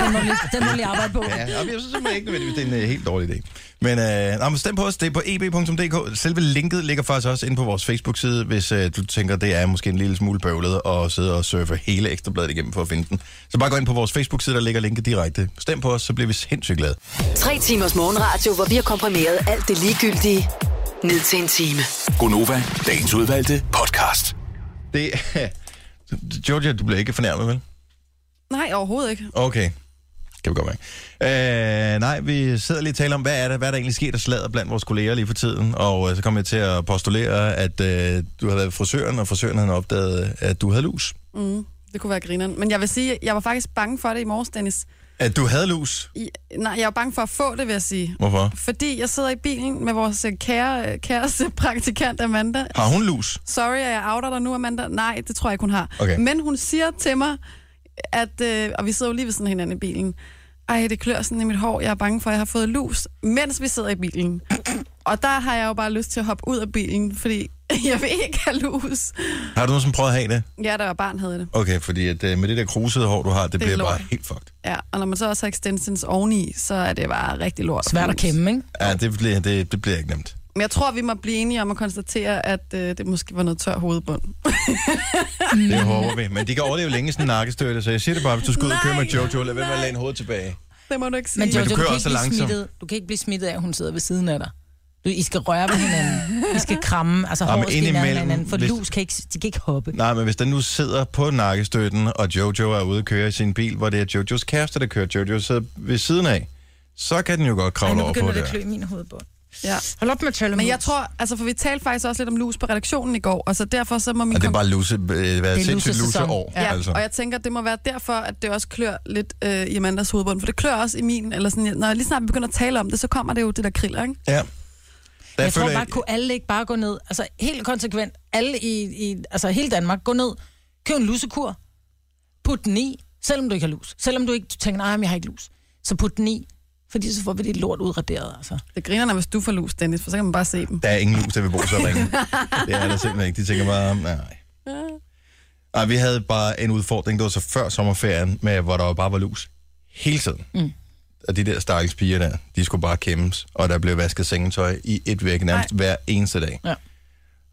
Den må lige, den må lige arbejde på. ja jamen, jeg synes simpelthen ikke, nødvendigvis, det er en øh, helt dårlig idé. Men, øh, nå, men stem på os, det er på eb.dk. Selve linket ligger faktisk også inde på vores Facebook-side, hvis øh, du tænker, det er måske en lille smule bøvlet at sidde og surfe hele ekstrabladet igennem for at finde den. Så bare gå ind på vores Facebook-side, der ligger linket direkte. Stem på os, så bliver vi sindssygt glade. Tre timers morgenradio, hvor vi har komprimeret alt det ligegyldige ned til en time. Gonova, dagens udvalgte podcast. Det, Georgia, du bliver ikke fornærmet, vel? Nej, overhovedet ikke. Okay. Kan vi godt mærke. Øh, nej, vi sidder lige og taler om, hvad er der, hvad er der egentlig sker, der slader blandt vores kolleger lige for tiden. Og øh, så kom jeg til at postulere, at øh, du havde været frisøren, og frisøren havde opdaget, at du havde lus. Mm. Det kunne være grineren. Men jeg vil sige, jeg var faktisk bange for det i morges, Dennis. At du havde lus? I, nej, jeg var bange for at få det, vil jeg sige. Hvorfor? Fordi jeg sidder i bilen med vores øh, kære, øh, kæreste praktikant Amanda. Har hun lus? Sorry, at jeg outer dig nu, Amanda. Nej, det tror jeg ikke, hun har. Okay. Men hun siger til mig, at, øh, og vi sidder jo lige ved sådan hinanden i bilen, ej, det klør sådan i mit hår, jeg er bange for, at jeg har fået lus, mens vi sidder i bilen. Og der har jeg jo bare lyst til at hoppe ud af bilen, fordi jeg vil ikke have lus. Har du nogen, som prøvet at have det? Ja, da jeg var barn havde jeg det. Okay, fordi at, øh, med det der krusede hår, du har, det, det Det er bliver lort. bare helt fucked. Ja, og når man så også har extensions oveni, så er det bare rigtig lort. Svært at kæmpe, ikke? Ja, det bliver, det, det bliver ikke nemt. Men jeg tror, vi må blive enige om at konstatere, at øh, det måske var noget tør hovedbund. Det håber vi. Men de kan overleve længe sådan en nakkestøtte, så jeg siger det bare, hvis du skal ud og køre med Jojo, lad være med at læne hovedet tilbage. Det må du ikke sige. Men, Men Jojo, du du, kører kan også ikke blive langsomt. smittet, du kan ikke blive smittet af, at hun sidder ved siden af dig. Du, I skal røre ved hinanden. I skal kramme. Altså, Jamen, håret skal i nærheden af indimellem, hinanden. For hvis- lus kan ikke, de kan ikke hoppe. Nej, men hvis den nu sidder på nakkestøtten, og Jojo er ude og køre i sin bil, hvor det er Jojos kæreste, der kører Jojo sidder ved siden af, så kan den jo godt Ej, kravle nu over på begynder det det. at klø i min hovedbund. Ja. Hold op med tølle Men jeg tror, altså for vi talte faktisk også lidt om lus på redaktionen i går, og så derfor så må min... Og det er kon- bare lusse, øh, Det være er sindssygt lusse lusesæson. år. Ja, altså. og jeg tænker, det må være derfor, at det også klør lidt øh, i Amandas hovedbund, for det klør også i min, eller sådan, når jeg lige snart begynder at tale om det, så kommer det jo det der kriller, ikke? Ja. Der jeg tror føler bare, kunne alle ikke bare gå ned, altså helt konsekvent, alle i, i altså hele Danmark, gå ned, køb en lusekur, put den i, selvom du ikke har lus. Selvom du ikke du tænker, nej, men jeg har ikke lus. Så put den i, fordi så får vi det lort udraderet, altså. Det griner, når hvis du får lus, Dennis, for så kan man bare se dem. Der er ingen lus, der vil bo så ringe. altså. det er der simpelthen ikke. De tænker bare, nej. Ej, vi havde bare en udfordring, det var så før sommerferien, med, hvor der bare var lus hele tiden. Mm. Og de der stakkels piger der, de skulle bare kæmmes, og der blev vasket sengetøj i et væk nærmest Ej. hver eneste dag. Ja.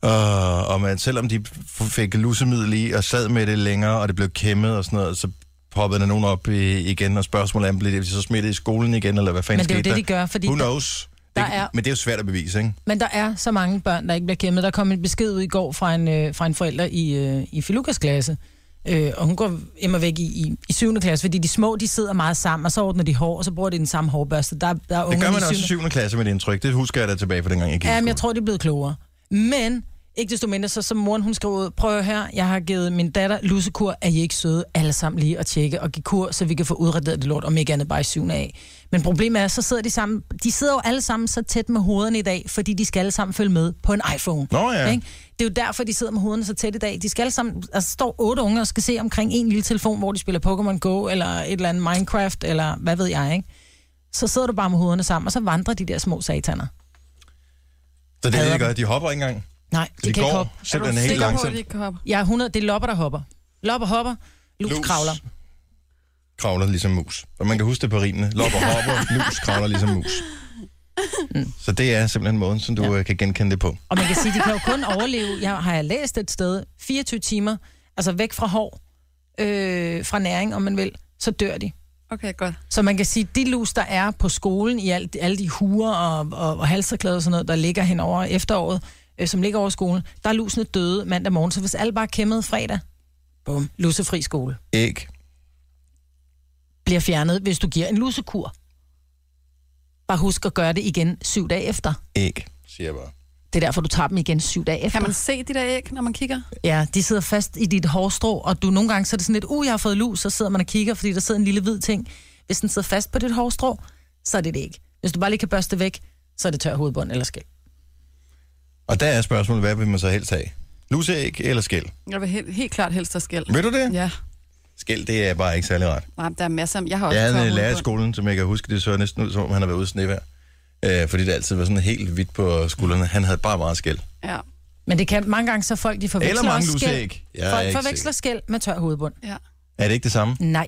Og, og man, selvom de f- fik lussemiddel i, og sad med det længere, og det blev kæmmet og sådan noget, så poppede der nogen op i, igen, og spørgsmålet er, blev det så smittet i skolen igen, eller hvad fanden Men det er jo skete det, der? de gør, fordi Who der- knows? der det, er- Men det er jo svært at bevise, ikke? Men der er så mange børn, der ikke bliver kæmmet. Der kom en besked ud i går fra en, øh, fra en forælder i, øh, i Filukas klasse, øh, og hun går immer væk i, i, i 7. klasse, fordi de små, de sidder meget sammen, og så ordner de hår, og så bruger de den samme hårbørste. Der, der Det er unger gør i man også i 7. syvende- klasse med det indtryk. Det husker jeg da tilbage fra dengang, jeg gik. i Ja, men skole. jeg tror, det er blevet klogere. Men ikke desto mindre, så som moren hun skrev ud, prøv her, jeg har givet min datter lussekur, er I ikke søde alle sammen lige at tjekke og give kur, så vi kan få udrettet det lort, om ikke andet bare i syvende af. Men problemet er, så sidder de sammen, de sidder jo alle sammen så tæt med hovederne i dag, fordi de skal alle sammen følge med på en iPhone. Nå ja. Ikke? Det er jo derfor, de sidder med hovederne så tæt i dag. De skal alle sammen, altså står otte unge og skal se omkring en lille telefon, hvor de spiller Pokémon Go, eller et eller andet Minecraft, eller hvad ved jeg, ikke? Så sidder du bare med hovederne sammen, og så vandrer de der små sataner. Så det er det, de gør. De hopper ikke engang. Nej, de det kan går ikke hoppe. simpelthen helt sikker på, at langsomt. de ikke kan hoppe? Ja, 100, det er lopper, der hopper. Lopper hopper, lus, Lus. lus. kravler. Kravler ligesom mus. Og man kan huske det på rimene. Lopper hopper, lus kravler ligesom mus. Så det er simpelthen måden, som du ja. kan genkende det på. Mm. Og man kan sige, de kan jo kun overleve, jeg har jeg læst et sted, 24 timer, altså væk fra hår, øh, fra næring, om man vil, så dør de. Okay, godt. Så man kan sige, de lus, der er på skolen, i alt, alle de huer og, og, og halserklæder og sådan noget, der ligger hen over efteråret, øh, som ligger over skolen, der er lusene døde mandag morgen. Så hvis alle bare kæmmede fredag, bum, lusefri skole, Æg. bliver fjernet, hvis du giver en lusekur. Bare husk at gøre det igen syv dage efter. Æg, siger jeg bare. Det er derfor, du tager dem igen syv dage efter. Kan man se de der æg, når man kigger? Ja, de sidder fast i dit hårstrå, og du nogle gange så er det sådan lidt, uh, jeg har fået lus, så sidder man og kigger, fordi der sidder en lille hvid ting. Hvis den sidder fast på dit hårstrå, så er det det ikke. Hvis du bare lige kan børste det væk, så er det tør hovedbånd eller skæg. Og der er spørgsmålet, hvad vil man så helst have? Luseæg eller skæl? Jeg vil helt, helt klart helst have skæld. Vil du det? Ja. Skæl, det er bare ikke særlig rart. Nej, men der er masser af... Jeg har også Jeg havde tør en øh, lærer i hovedbund. skolen, som jeg kan huske, det så næsten ud, som om han havde været ude i snevær. Øh, fordi det altid var sådan helt hvidt på skuldrene. Han havde bare meget skæl. Ja. Men det kan mange gange, så folk de forveksler Eller mange også luseæg. Jeg er Folk ikke forveksler skæld med tør hovedbund. Ja. Er det ikke det samme? Nej.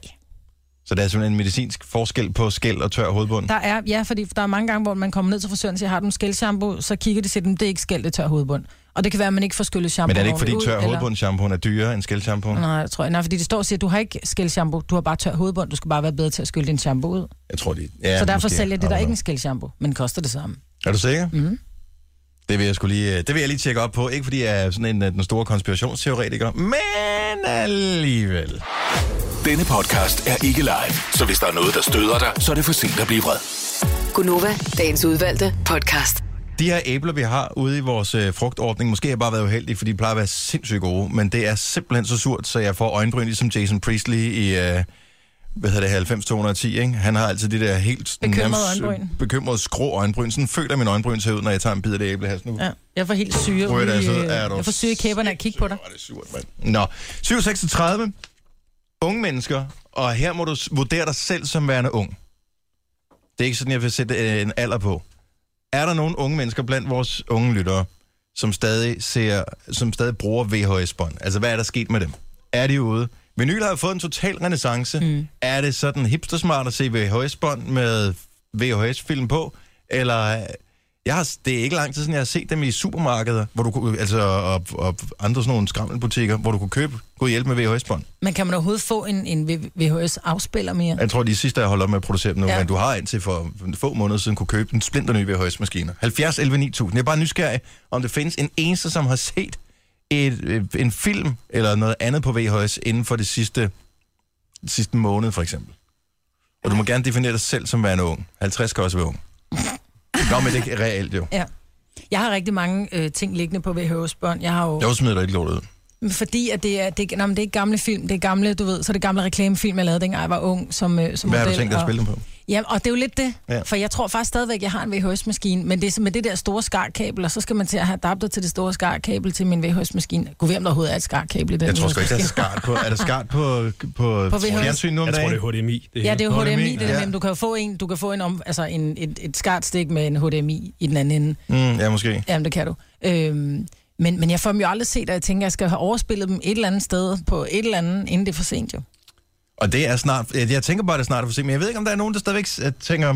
Så der er simpelthen en medicinsk forskel på skæl og tør hovedbund? Der er, ja, fordi der er mange gange, hvor man kommer ned til frisøren og siger, har du en skældshampoo, så kigger de til dem, det er ikke skæld, det er tør hovedbund. Og det kan være, at man ikke får skyllet shampoo Men er det ikke, fordi ordentligt ud, tør eller- hovedbundshampooen er dyrere end skældshampooen? Nej, jeg tror jeg. Nej, fordi det står og siger, at du har ikke skældshampoo, du har bare tør hovedbund, du skal bare være bedre til at skylle din shampoo ud. Jeg tror, de... Ja, så derfor måske. sælger I det der don't ikke en skældshampoo, men koster det samme. know. Er du sikker? Mm. Det vil jeg skulle lige, øh, det vil jeg lige tjekke op på. Ikke fordi jeg er sådan en øh, den store konspirationsteoretiker, men alligevel. Denne podcast er ikke live, så hvis der er noget, der støder dig, så er det for sent at blive vred. Gunova, dagens udvalgte podcast. De her æbler, vi har ude i vores øh, frugtordning, måske har jeg bare været uheldig, fordi de plejer at være sindssygt gode, men det er simpelthen så surt, så jeg får øjenbryn ligesom Jason Priestley i, øh, hvad hedder det, 90-210, ikke? Han har altid det der helt Bekymrede øjenbryn. bekymret skrå øjenbryn. Sådan føler min øjenbryn ser ud, når jeg tager en bid af det æble her. Sådan, uh, Ja, jeg får helt syre. Prøv at ude i, altså, øh, er du jeg får syre i kæberne af at kigge på dig. surt, mand. Nå, 736. Unge mennesker, og her må du s- vurdere dig selv som værende ung. Det er ikke sådan, jeg vil sætte øh, en alder på. Er der nogen unge mennesker blandt vores unge lyttere, som stadig, ser, som stadig bruger VHS-bånd? Altså, hvad er der sket med dem? Er de ude? Vinyl har fået en total renaissance. Mm. Er det sådan hipstersmart at se VHS-bånd med VHS-film på? Eller øh, jeg har, det er ikke lang tid siden, jeg har set dem i supermarkeder, hvor du kunne, altså, og, og andre sådan nogle skrammelbutikker, hvor du kunne købe god hjælp med VHS-bånd. Men kan man overhovedet få en, en VHS-afspiller mere? Jeg tror, de sidste, jeg holder op med at producere dem nu, ja. Ja. men du har indtil for få måneder siden kunne købe en splinter ny VHS-maskine. 70 11 9000. Jeg er bare nysgerrig, om det findes en eneste, som har set et, øh, en film eller noget andet på VHS inden for det sidste, sidste måned, for eksempel. Og du må gerne definere dig selv som værende ung. 50 kan også være ung. Nå, men det er reelt jo. Ja. Jeg har rigtig mange øh, ting liggende på VHS-bånd. Jeg har jo... Jeg smider dig ikke lortet ud. Men Fordi at det er, det, nå, men det er ikke gamle film, det er gamle, du ved, så er det gamle reklamefilm, jeg lavede, dengang jeg var ung som, øh, som Hvad har model. du tænkt dig at og- spille dem på? Ja, og det er jo lidt det, Ja. ja. for jeg tror faktisk stadigvæk, jeg har en VHS-maskine, men det er så med det der store skarkabel, og så skal man til at have adapter til det store skarkabel til min VHS-maskine. Gud ved, om der overhovedet er et skarkabel i den Jeg tror sgu ikke, der er VHS-maskine. skart på. Er der skart på, på, på På VHS? fjernsyn nu om Jeg tror, dagen? det er HDMI. Det Ja, her. det er jo HDMI, det der ja. ja. men du kan jo få en, du kan få en om, altså en, et, et skartstik med en HDMI i den anden ende. Mm, ja, måske. Jamen, det kan du. Øhm, men, men jeg får dem jo aldrig set, og jeg tænker, jeg skal have overspillet dem et eller andet sted på et eller andet, inden det er for sent jo. Og det er snart, jeg jeg tænker bare, det er snart for sent, men jeg ved ikke, om der er nogen, der stadigvæk s- tænker,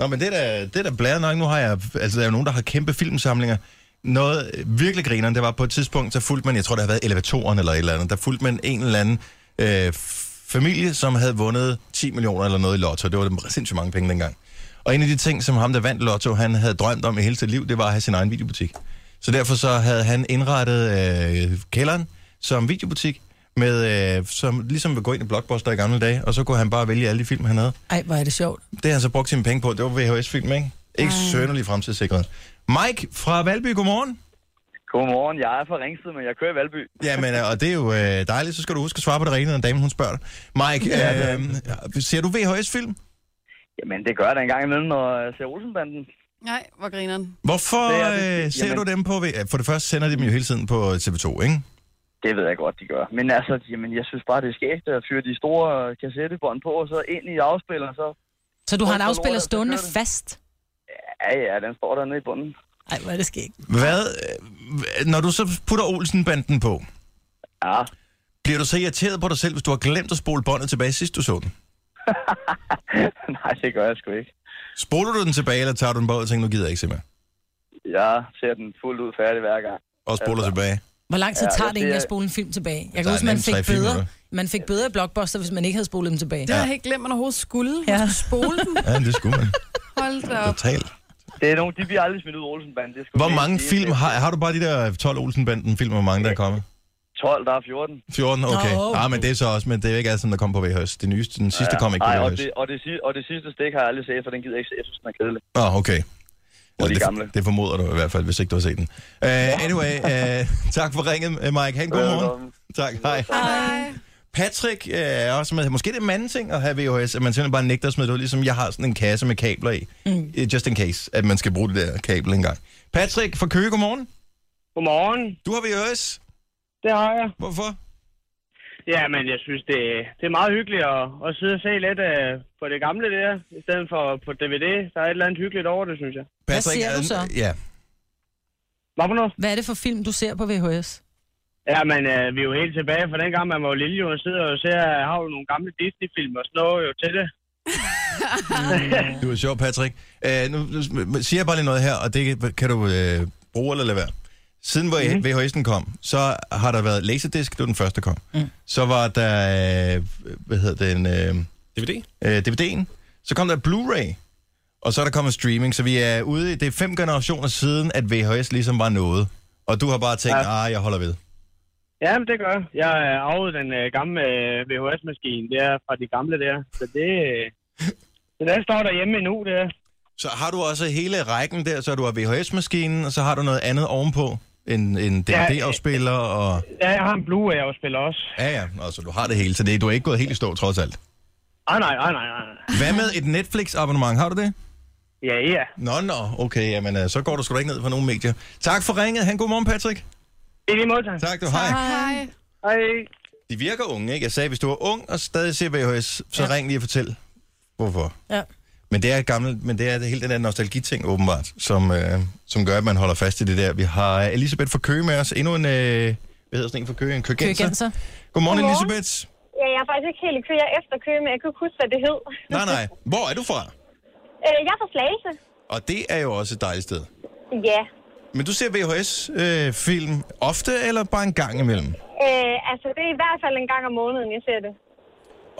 Nå, men det er da, det er da blæret nok, nu har jeg, altså der er jo nogen, der har kæmpe filmsamlinger. Noget øh, virkelig grineren, det var på et tidspunkt, så fulgte man, jeg tror, det har været elevatoren eller et eller andet, der fulgte man en eller anden øh, f- familie, som havde vundet 10 millioner eller noget i lotto. Det var dem sindssygt mange penge dengang. Og en af de ting, som ham, der vandt lotto, han havde drømt om i hele sit liv, det var at have sin egen videobutik. Så derfor så havde han indrettet øh, kælderen som videobutik, med, øh, som ligesom vil gå ind i Blockbuster i gamle dage, og så kunne han bare vælge alle de film, han havde. Ej, hvor er det sjovt. Det har han så brugt sine penge på. Det var VHS-film, ikke? Ikke sønderlig fremtidssikret. Mike fra Valby, godmorgen. Godmorgen, jeg er fra Ringsted, men jeg kører i Valby. Jamen, øh, og det er jo øh, dejligt, så skal du huske at svare på det rene, når damen hun spørger dig. Mike, Ja, det øh, ser du VHS-film? Jamen, det gør jeg da en gang imellem, når jeg ser Olsenbanden. Nej, hvor grineren. Hvorfor Det er det. øh, ser Jamen- du dem på... V- For det første sender de dem jo hele tiden på øh, TV2, ikke? Det ved jeg godt, de gør. Men altså, jamen, jeg synes bare, det er skægt at fyre de store kassettebånd på, og så ind i afspilleren, så... Så du har en Hvorfor afspiller lortet, så stående kører det? fast? Ja, ja, den står dernede i bunden. Ej, hvor er det skægt. Hvad, øh, når du så putter Olsenbanden på, Ja, bliver du så irriteret på dig selv, hvis du har glemt at spole båndet tilbage, sidst du så den? nej, det gør jeg sgu ikke. Spoler du den tilbage, eller tager du den på og tænker, nu gider jeg ikke se mere? Jeg ser den fuldt ud færdig hver gang. Og spoler tilbage. Hvor lang tid Ja, tager det det egentlig er- at spole en film tilbage? Jeg Der kan er huske, man nemt tre, fik fire bedre. minutter. Man fik bedre i Blockbuster, hvis man ikke havde spolet dem tilbage. Det har jeg helt glemt, man overhovedet skulle. Man Ja. skulle spole den. Ja, det skulle man. Hold da op. Totalt. Det er nogen, de bliver aldrig smidt ud Olsenbanden. Det er sgu Hvor helt mange fint. film har, har du bare de der 12 Olsenbanden film, hvor mange der er kommet? 12, der er 14. 14, okay. Nå. Ah, men det er så også, men det er jo ikke alt sammen, der kom på VHS. Det nyeste, den sidste kom ikke på Ej, og, VHS. det, og, det, si- og det sidste stik har jeg aldrig set, for den gider jeg ikke se. Jeg synes, den er kedelig. Nå, ah, okay. Og de det, gamle. det formoder du i hvert fald, hvis ikke du har set den. Uh, anyway, uh, tak for ringet, øh, Mike. Ha' en god morgen. Velkommen. Tak, hej. Patrick øh, er også med. Måske det er mandeting at have VHS, at man simpelthen bare nægter at smide det ud, ligesom jeg har sådan en kasse med kabler i. Mm. Just in case, at man skal bruge det der kabel engang. Patrick fra Køge, godmorgen. Godmorgen, Du har VHS. det har jeg. Hvorfor? Ja, men jeg synes, det, det er meget hyggeligt at, at sidde og se lidt uh, på det gamle der, i stedet for på DVD. Der er et eller andet hyggeligt over det, synes jeg. Patrick, ser du er- så? Ja. Hvad for noget? Hvad er det for film, du ser på VHS? Ja, men uh, vi er jo helt tilbage fra dengang, man var jo lille jo, og sidder og ser, jeg har jo nogle gamle Disney-film og sådan noget jo til det. Du er sjov, Patrick. Uh, nu nu siger jeg bare lige noget her, og det kan du uh, bruge eller lade være. Siden hvor mm. VHS'en kom, så har der været Laserdisc, det var den første, der kom. Mm. Så var der, øh, hvad hedder den, øh, DVD? øh, DVD'en. Så kom der Blu-ray, og så er der kommet streaming. Så vi er ude i, det er fem generationer siden, at VHS ligesom var noget. Og du har bare tænkt, ja. ah, jeg holder ved. Ja, men det gør jeg. Jeg øh, arvede den uh, gamle uh, øh, VHS-maskine der fra de gamle der, så det... Uh, den der står derhjemme endnu, det er. Så har du også hele rækken der, så du har VHS-maskinen, og så har du noget andet ovenpå? En, en Ja, DVD-afspiller og... Ja, jeg har en Blu-ray-afspiller også. Ja, ja, altså du har det hele, så det, du er ikke gået helt i stå, trods alt. Ej, Ah, nej, ej, nej, nej. nej. Hvad med et Netflix-abonnement? Har du det? Ja, ja. Nå, nå, okay, jamen, øh, så går du sgu da ikke ned på nogen medier. Tak for ringet. Han god morgen, Patrick. I lige måde, tak. Tak, du. Hej. Hej. Hej. De virker unge, ikke? Jeg sagde, hvis du er ung og stadig ser VHS, så ja. ring lige og fortæl, hvorfor. Ja. Men det er gammelt, men det er hele den der nostalgiting åbenbart, som, øh, som gør, at man holder fast i det der. Vi har Elisabeth fra Køge med os. Endnu en, øh, hvad hedder sådan en fra Køge? En køgenser. Køgenser. Godmorgen, Godmorgen. Elisabeth. Ja, jeg er faktisk ikke helt i kø. Jeg er efter kø, men jeg kunne ikke huske, hvad det hed. Nej, nej. Hvor er du fra? Øh, jeg er fra Slagelse. Og det er jo også et dejligt sted. Ja. Men du ser VHS-film øh, ofte, eller bare en gang imellem? Øh, altså, det er i hvert fald en gang om måneden, jeg ser det.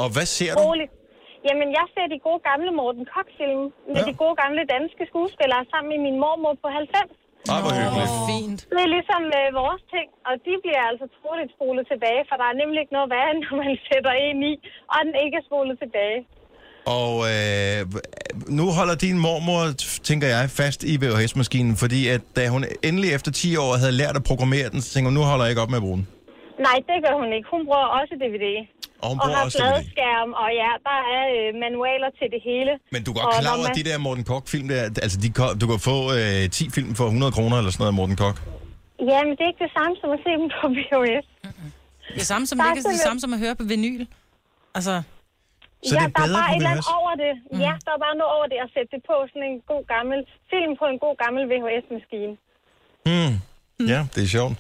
Og hvad ser du? Roligt. Jamen, jeg ser de gode gamle Morten Koch-film Ja. med ja. de gode gamle danske skuespillere sammen med min mormor på 90. Ej, Ah, hvor hyggeligt. Fint. Det er ligesom øh, vores ting, og de bliver altså troligt spolet tilbage, for der er nemlig ikke noget værre, end når man sætter en i, og den ikke er spolet tilbage. Og øh, nu holder din mormor, tænker jeg, fast i VHS-maskinen, fordi at da hun endelig efter 10 år havde lært at programmere den, så tænker hun, nu holder jeg ikke op med at bruge den. Nej, det gør hun ikke. Hun bruger også DVD. Og hun og bruger har også DVD. fladskærm, og ja, der er øh, manualer til det hele. Men du er godt Og klar når over, at man- de der Morten Koch-film der, altså de, ko- du kan få øh, 10 film for 100 kroner eller sådan noget af Morten Koch. Ja, men det er ikke det samme som at se dem på VHS. Det samme som, Der er ikke, det simpelthen- samme som at høre på vinyl. Altså, Så det er der bedre er bare på et eller andet VHS? over det. Mm. Ja, der er bare noget over det at sætte det på sådan en god gammel film på en god gammel VHS-maskine. Hmm. Ja, det er sjovt.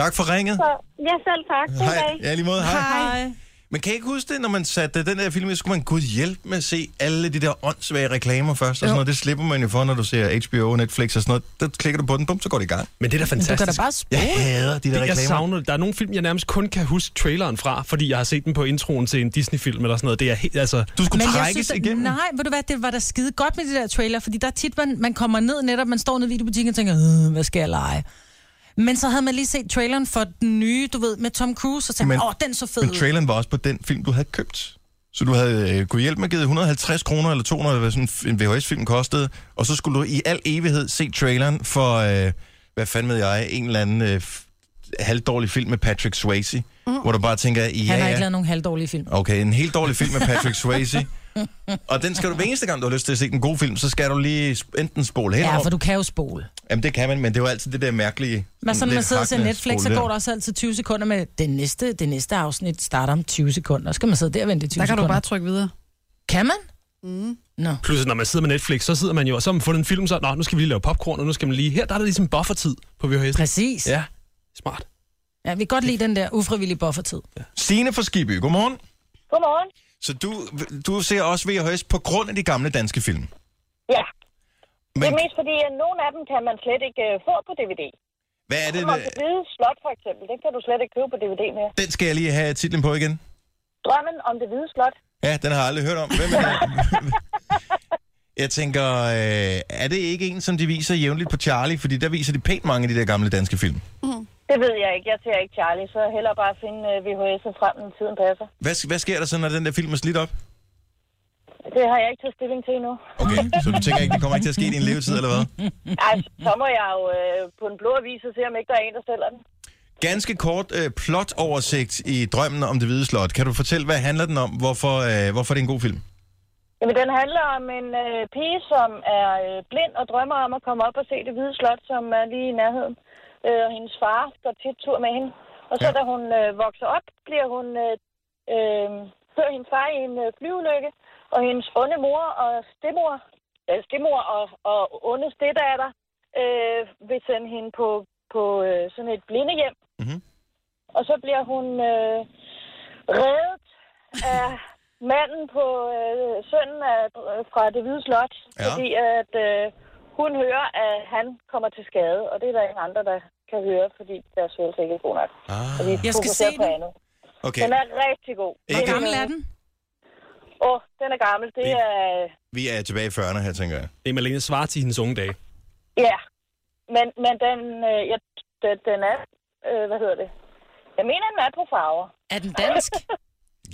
Tak for ringet. Så ja, selv tak. God dag. Hej. Ja, i lige måde. Hej. Men kan I ikke huske det, når man satte den der film, i, så skulle man kunne hjælpe med at se alle de der åndssvage reklamer først, og sådan noget. Det slipper man jo for, når du ser HBO, Netflix og sådan noget. Der klikker du på den, bum, så går det i gang. Men det er da fantastisk. Jeg hader de der det, jeg reklamer. savner, det. der er nogle film, jeg nærmest kun kan huske traileren fra, fordi jeg har set den på introen til en Disney-film eller sådan noget. Det er helt, altså... Du at- Nej, ved du hvad, det var da skide godt med de der trailer, fordi der er tit, man, man kommer ned netop, man står nede i videobutikken og tænker, "Øh, hvad skal jeg lege? Men så havde man lige set traileren for den nye, du ved, med Tom Cruise, og tænkte, man, åh, den så fed Men ud." traileren var også på den film, du havde købt. Så du havde øh, kunne hjælpe med at give 150 kroner eller 200, hvad sådan en f- en VHS-film kostede, og så skulle du i al evighed se traileren for, øh, hvad fanden ved jeg, en eller anden øh, f- halvdårlig film med Patrick Swayze, mm. hvor du bare tænker, ja, Han har ikke ja. lavet nogen halvdårlige film. Okay, en helt dårlig film med Patrick Swayze. Og den skal du, hver eneste gang, du har lyst til at se en god film, så skal du lige sp- enten spole henover. Ja, for du kan jo spole. Jamen, det kan man, men det er jo altid det der mærkelige... Men så når lidt man sidder og ser hakkende Netflix, så spole går der også altid 20 sekunder med, det næste, det næste afsnit starter om 20 sekunder. Så skal man sidde der og vente i 20 Der kan sekunder. du bare trykke videre. Kan man? Mm. Nå. Plus, at når man sidder med Netflix, så sidder man jo, og så har man fundet en film, så Nå, nu skal vi lige lave popcorn, og nu skal man lige... Her der er der ligesom buffertid på VHS. Præcis. Ja, smart. Ja, vi kan godt lide den der ufrivillige buffertid. Stine fra Skiby, godmorgen. Godmorgen. Så du, du ser også VHS på grund af de gamle danske film? Ja. Men- Men... Det er mest fordi, at nogle af dem kan man slet ikke øh, få på DVD. Hvad er det? øh, Som om det hvide slot, for eksempel. Den kan du slet ikke købe på DVD mere. Den skal jeg lige have titlen på igen. Drømmen om det hvide slot. Ja, den har jeg aldrig hørt om. Hvem er det? jeg tænker, øh, er det ikke en, som de viser jævnligt på Charlie? Fordi der viser de pænt mange af de der gamle danske film. Mm. Det ved jeg ikke. Jeg ser ikke Charlie, så hellere bare finde øh, VHS'en frem, når tiden passer. Hvad, hvad sker der så, når den der film er slidt op? Det har jeg ikke taget stilling til endnu. Okay, så du tænker ikke, det kommer ikke til at ske i din levetid, eller hvad? Altså, så må jeg jo øh, på en blå avis og se, om ikke der er en, der sælger den. Ganske kort øh, plot-oversigt i Drømmen om det hvide slot. Kan du fortælle, hvad handler den om? Hvorfor, øh, hvorfor er det en god film? Jamen, den handler om en øh, pige, som er øh, blind og drømmer om at komme op og se det hvide slot, som er lige i nærheden. Øh, og hendes far går tit tur med hende. Og så Ja. ja. da hun øh, vokser op, bliver hun... Øh, øh, dør hendes far i en øh, flyulykke, og hendes onde mor og stemor, øh, stemor og, og onde stedatter øh, vil sende hende på, på øh, sådan et blindehjem. Mm-hmm. Og så bliver hun øh, reddet af manden på øh, sønnen af, øh, fra det hvide slot, Ja. ja. fordi at øh, hun hører, at han kommer til skade, og det er der ingen andre, der kan høre, fordi deres hørelse ikke er god nok. Og vi Ah. Jeg skal fokuserer se på den. andet. Okay. Den er rigtig god. Hvor gammel er den? Åh, oh, den er gammel. Det er... Vi er tilbage i 40'erne her, tænker jeg. Det er Malene Svart i hendes unge dage. Ja. Men, men den, øh, jeg, den, den er... Øh, hvad hedder det? Jeg mener, den er på farver. Er den dansk?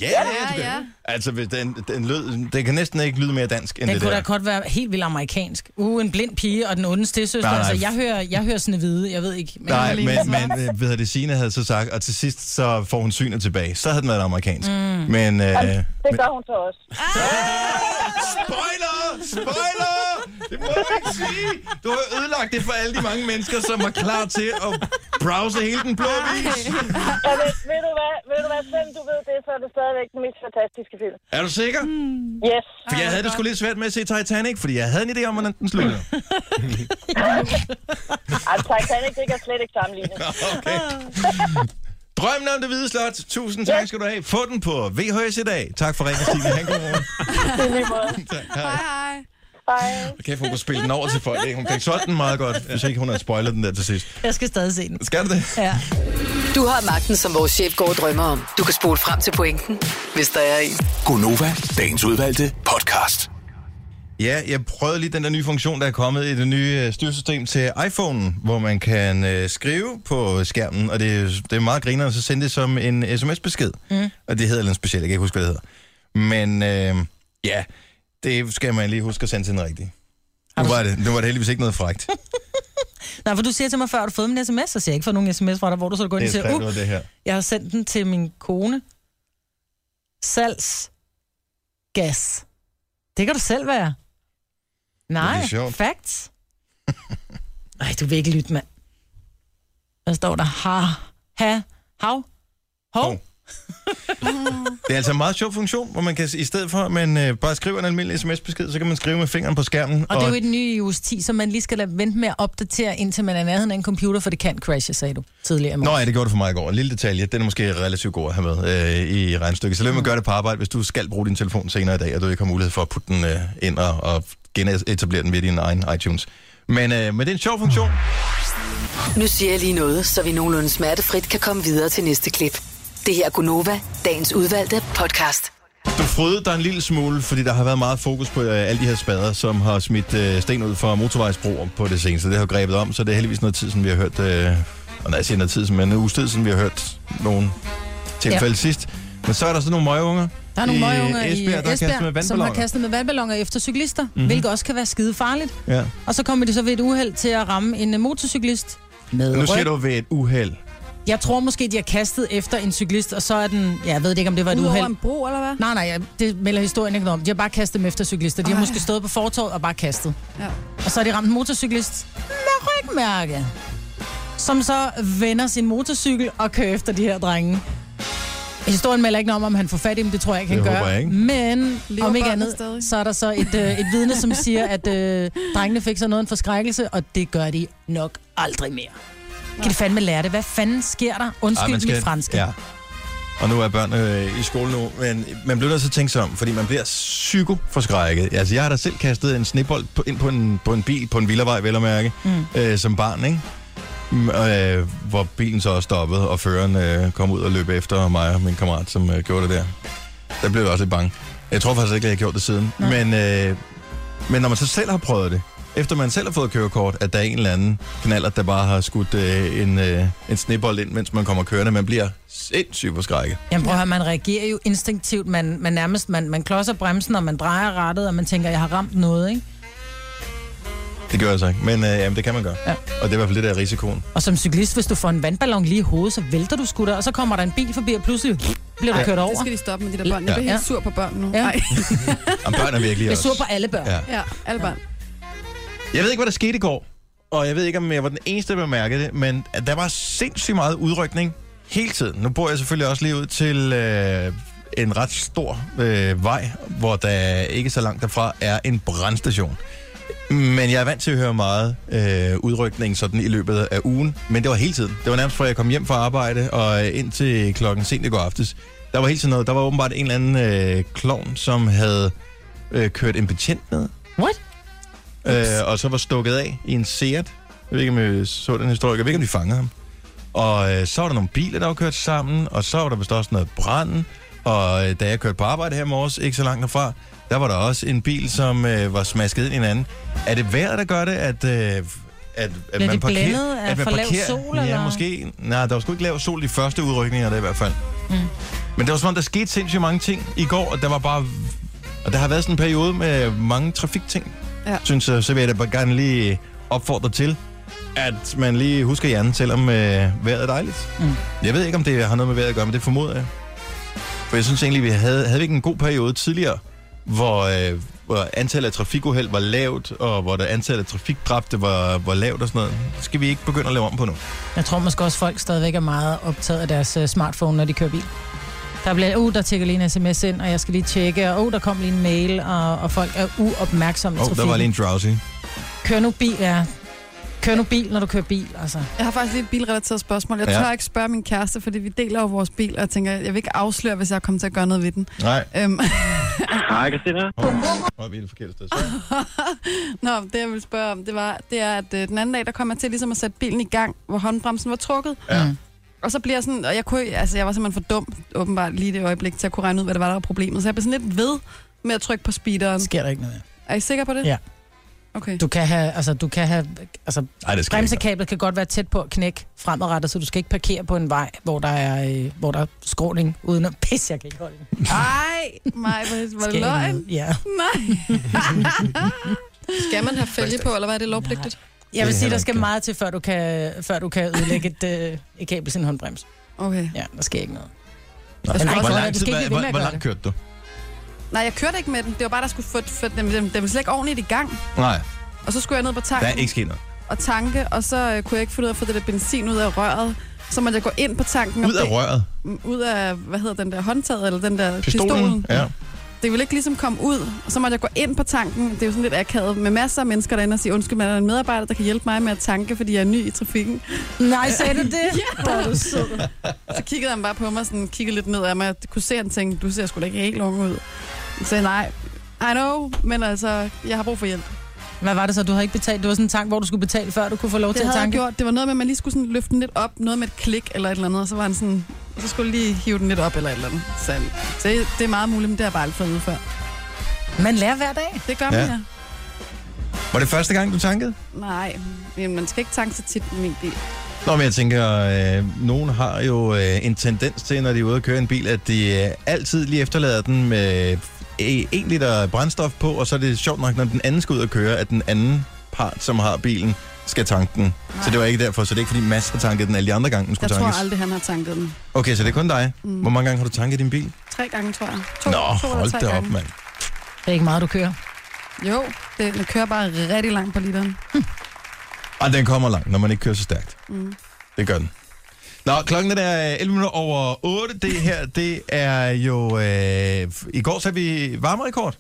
Ja, ja, ja, ja. Altså, hvis den, den, lød, den kan næsten ikke lyde mere dansk end Den det kunne der. da godt være helt vildt amerikansk. Uh, en blind pige og den onde stedsøster. Nej, nej. Altså, jeg hører, jeg hører sådan hvide, jeg ved ikke. Nej, men, men øh, ved jeg det, Signe havde så sagt, og til sidst så får hun synet tilbage. Så havde den været amerikansk. Mm. Men, øh, Jamen, det men gør hun så også. Ah! Spoiler! Spoiler! Det må du ikke sige! du har ødelagt det for alle de mange mennesker, som er klar til at browse hele den blå vis. Ja, men, ved du hvad, ved du hvad, selvom du ved det, så er det stadigvæk den mest fantastiske film. Er du sikker? Mm. Yes. For jeg havde det sgu lidt svært med at se Titanic, fordi jeg havde en idé om, hvordan den sluttede. Ej, Titanic, det kan slet ikke sammenlignes. Okay. Drømmen om det hvide slot. Tusind tak skal du have. Få den på VHS i dag. Tak for ringen, Stine. Han god morgen. Tak. Hej. Hej. Hej. Kæft, hun kunne spille den over til folk. ikke? Hun kan solgte den meget godt, hvis ikke hun har spoilet den der til sidst. Jeg skal stadig se den. Skal du det? Ja. Du har magten, som vores chef går og drømmer om. Du kan spole frem til pointen, hvis der er en. Gonova, dagens udvalgte podcast. Ja, jeg prøvede lige den der nye funktion, der er kommet i det nye øh, styresystem til iPhone, hvor man kan øh, skrive på skærmen, og det, er jo- det er meget griner, og så sende det som en sms-besked. Mm. Og det hedder noget specielt, jeg kan ikke huske, hvad det hedder. Men øh, ja, det skal man lige huske at sende til den rigtige. Nu var det, nu var det heldigvis ikke noget frægt. Nej, for du siger til mig før, har du fået min sms, så siger jeg ikke for nogen sms fra dig, hvor du så går ind og Det siger, er fandme uh, noget, det her. jeg har sendt den til min kone. Salgs. Gas. Det kan du selv være. Det Nej, er sjovt. facts. Nej, du vil ikke lytte, mand. Hvad står der? Ha, ha, hav, hov. Det er altså en meget sjov funktion, hvor man kan, i stedet for at man øh, bare skriver en almindelig sms-besked, så kan man skrive med fingeren på skærmen. Og det er jo et nyt iOS 10, som man lige skal lade vente med at opdatere, indtil man er i nærheden af en computer, for det kan crashe, sagde du tidligere. i morges. Nå ja, det gjorde det for mig i går. En lille detalje, den er måske relativt god at have med øh, i regnstykket. Så lad mig Mm. gøre det på arbejde, hvis du skal bruge din telefon senere i dag, og du ikke har mulighed for at putte den øh, ind og, og genetablere den ved din egen iTunes. Men, øh, men det er en sjov funktion. Nu siger jeg lige noget, så vi nogenlunde smertefrit kan komme videre til næste klip. Det her er Gunova, dagens udvalgte podcast. Du frydede dig en lille smule, fordi der har været meget fokus på øh, alle de her spader, som har smidt øh, sten ud fra motorvejsbroer på det seneste. Det har grebet om, så det er heldigvis noget tid, som vi har hørt... Øh, og når jeg siger noget tid, men en uges tid, siden vi har hørt nogle tilfælde Ja. ja. sidst. Men så er der sådan nogle møgeunger Der er nogle i møgunger Esbjerg, i der har kastet med Esbjerg, som har vandballoner. kastet med vandballoner efter cyklister, mm-hmm. Mhm. hvilket også kan være skide farligt. Ja. Og så kommer det så ved et uheld til at ramme en øh, motorcyklist. Med nu siger rødt. du ved et uheld. Jeg tror måske, de har kastet efter en cyklist, og så er den... Ja, jeg ved det ikke, om det var et Udover uheld. en bro, eller hvad? Nej, nej, jeg- det melder historien ikke noget om. De har bare kastet dem efter cyklister. De har måske stået på fortorvet og bare kastet. Ja. Og så har de ramt en motorcyklist med rygmærke, som så vender sin motorcykel og kører efter de her drenge. Historien melder ikke noget om, om han får fat i dem. Det tror jeg ikke, han Det gør. håber jeg ikke. Men Lever om ikke båndet andet, stadig. så er der så et, øh, et vidne, som siger, at øh, drengene fik så noget en forskrækkelse, og det gør de nok aldrig mere. Kan de fandme lære det? Hvad fanden sker der? Ej, Undskyld man skal- mit franske. Ja. Og nu er børn øh, i skole nu, men man bliver nødt til at tænke sig om, fordi man bliver psykoforskrækket. Altså, jeg har da selv kastet en snebold på, ind på en, på en bil, på en villavej, vel at mærke, Mm. mm. øh, som barn, ikke? Mm, og, Øh, hvor bilen så også stoppede, og føreren øh, kom ud og løb efter mig og min kammerat, som øh, gjorde det der. Der blev jeg også lidt bange. Jeg tror faktisk ikke, at jeg har gjort det siden. Men, øh, men når man så selv har prøvet det, efter man selv har fået kørekort, at der er en eller anden knaller, der bare har skudt øh, en, øh, en snebold ind, mens man kommer kørende. Man bliver sindssygt forskrækket. Jamen prøv at høre, man reagerer jo instinktivt. Man, man nærmest, man, man klodser bremsen, og man drejer rettet, og man tænker, jeg har ramt noget, ikke? Det gør jeg så ikke, men øh, jamen, det kan man gøre. Ja. Og det er i hvert fald det, der er risikoen. Og som cyklist, hvis du får en vandballon lige i hovedet, så vælter du sgu der, og så kommer der en bil forbi, og pludselig bliver du Ja. kørt over. Det skal de stoppe med, de der børn. Jeg bliver helt sur på børn nu. Ja. Ej. Om børn er virkelig Jeg er også. sur på alle børn. Ja. Ja, alle børn. Jeg ved ikke, hvad der skete i går, og jeg ved ikke, om jeg var den eneste, der bemærkede det, men at der var sindssygt meget udrykning hele tiden. Nu bor jeg selvfølgelig også lige ud til øh, en ret stor øh, vej, hvor der ikke så langt derfra er en brandstation. Men jeg er vant til at høre meget øh, udrykning sådan i løbet af ugen, men det var hele tiden. Det var nærmest fra jeg kom hjem fra arbejde og øh, ind til klokken sent i går aftes. Der var hele tiden noget. Der var åbenbart en eller anden øh, klovn, som havde øh, kørt en betjent ned. What? Øh, og så var stukket af i en Seat. Jeg ved ikke, om jeg så den historie. Jeg ved ikke, om de fangede ham. Og øh, så var der nogle biler, der var kørt sammen, og så var der vist også noget brand. Og øh, da jeg kørte på arbejde her i morges, ikke så langt derfra, der var der også en bil, som øh, var smasket ind i en anden. Er det vejret, der gør det, at... Øh, at, at Bliver de blændet af at man for lav parkerer- sol, Ja, eller? måske. Nej, der var sgu ikke lav sol i de første udrykninger, der i hvert fald. Mm. Men det var som om, der skete sindssygt mange ting i går, og der var bare... Og der har været sådan en periode med mange trafikting, ja. synes jeg, så vil jeg da bare gerne lige opfordre til, at man lige husker hjernen, selvom øh, vejret er dejligt. Mm. Jeg ved ikke, om det har noget med vejret at gøre, men det formoder jeg. For jeg synes egentlig, vi havde, havde vi ikke en god periode tidligere, hvor, øh, hvor antallet af trafikuheld var lavt, og hvor der antallet af trafikdræbte var, var lavt og sådan noget. Det skal vi ikke begynde at lave om på nu. Jeg tror måske også, folk stadigvæk er meget optaget af deres uh, smartphone, når de kører bil. Der bliver, uh, der tækker lige en sms ind, og jeg skal lige tjekke, og uh, der kom lige en mail, og, og folk er uopmærksomme i Åh, oh, der trafikken. var lige en drowsy. Kør nu bil, ja. Kør nu bil, når du kører bil, altså. Jeg har faktisk lige et bilrelateret spørgsmål. Jeg Ja. ja. tør ikke spørge min kæreste, fordi vi deler jo vores bil, og jeg tænker, jeg vil ikke afsløre, hvis jeg kommer til at gøre noget ved den. Nej. Øhm, Hej, Christina. Og vi er det forkerte sted. Nå, det jeg ville spørge om, det var, det er, at øh, den anden dag, der kom jeg til ligesom at sætte bilen i gang, hvor håndbremsen var trukket. Mm. Ja. Og så bliver jeg sådan, og jeg, kunne, altså, jeg var simpelthen for dum, åbenbart lige i det øjeblik, til at kunne regne ud, hvad der var, der var problemet. Så jeg blev sådan lidt ved med at trykke på speederen. Sker der ikke noget? Er I sikre på det? Ja. Okay. Du kan have, altså, du kan have, altså, Ej, det skal bremsekablet kan godt være tæt på at knække fremadrettet, så du skal ikke parkere på en vej, hvor der er, øh, hvor der er skråning uden at pisse, jeg kan ikke holde den. Nej, mig, hvor var det Skal jeg løgn? ud? Ja. Nej. Skal man have fælge på, eller hvad er det lovpligtigt? Jeg vil sige, der skal meget til, før du kan, før du kan ødelægge et, øh, et kabel sin håndbrems. Okay. Ja, der sker ikke noget. Nej. Den er ikke Hvor så- lang du tid, skal ikke hvor, blive ved med hvor, hvor at gøre langt kørte du? Nej, jeg kørte ikke med den. Det var bare, der skulle få, få den, den, den var slet ikke ordentligt i gang. Nej, Og så skulle jeg ned på der er tanken ikke sket noget. og tanke, og så øh, kunne jeg ikke finde ud af at få det der benzin ud af røret. Så måtte jeg gå ind på tanken. og Ud af bed- røret? Mm, Ud af, hvad hedder den der håndtaget, eller den der pistolen. Pistolen? pistolen. Mm. Ja. Det ville ikke ligesom komme ud, og så måtte jeg gå ind på tanken. Det er jo sådan lidt akavet med masser af mennesker derinde og sige, undskyld, men er der en medarbejder, der kan hjælpe mig med at tanke, fordi jeg er ny i trafikken? Nej, sagde du det? ja. Hvor er du sød. Så kiggede han bare på mig, sådan, kiggede lidt ned af mig, og kunne se, at han tænkte, du ser sgu da ikke helt ung ud. Så sagde, jeg, nej, I know, men altså, jeg har brug for hjælp. Hvad var det så, du havde ikke betalt? Det var sådan en tank, hvor du skulle betale, før du kunne få lov Det til at havde jeg tanke. gjort. Det var noget med, at man lige skulle sådan løfte den lidt op, noget med et klik eller et eller andet, og så var han sådan, og så skulle jeg lige hive den lidt op eller et eller andet. Så, så det, det er meget muligt, men det har jeg bare aldrig fået at vide før. Man lærer hver dag. Det gør Ja. ja. man, ja. Var det første gang, du tankede? Nej, men man skal ikke tanke så tit med min bil. Nå, men jeg tænker, øh, nogen har jo øh, en tendens til, når de er ude at køre en bil, at de øh, altid lige efterlader den med øh, en liter brændstof på, og så er det sjovt nok, når den anden skal ud og køre, at den anden part, som har bilen, skal tanke den. Nej. Så det var ikke derfor, så det er ikke fordi Mads har tanket den alle de andre gange, den Jeg skulle tror tankes. aldrig, han har tanket den. Okay, så det er kun dig. Mm. Mm. Hvor mange gange har du tanket din bil? Tre gange, tror jeg. To, Nå, to eller hold tre da op, gange. mand. Det er ikke meget, du kører. Jo, det, den kører bare rigtig langt på literen. Og den kommer langt, når man ikke kører så stærkt. Mm. Det gør den. Nå, klokken den er øh, 11 minutter over 8. Det her, det er jo... Øh, f- I går satte vi varmerekord.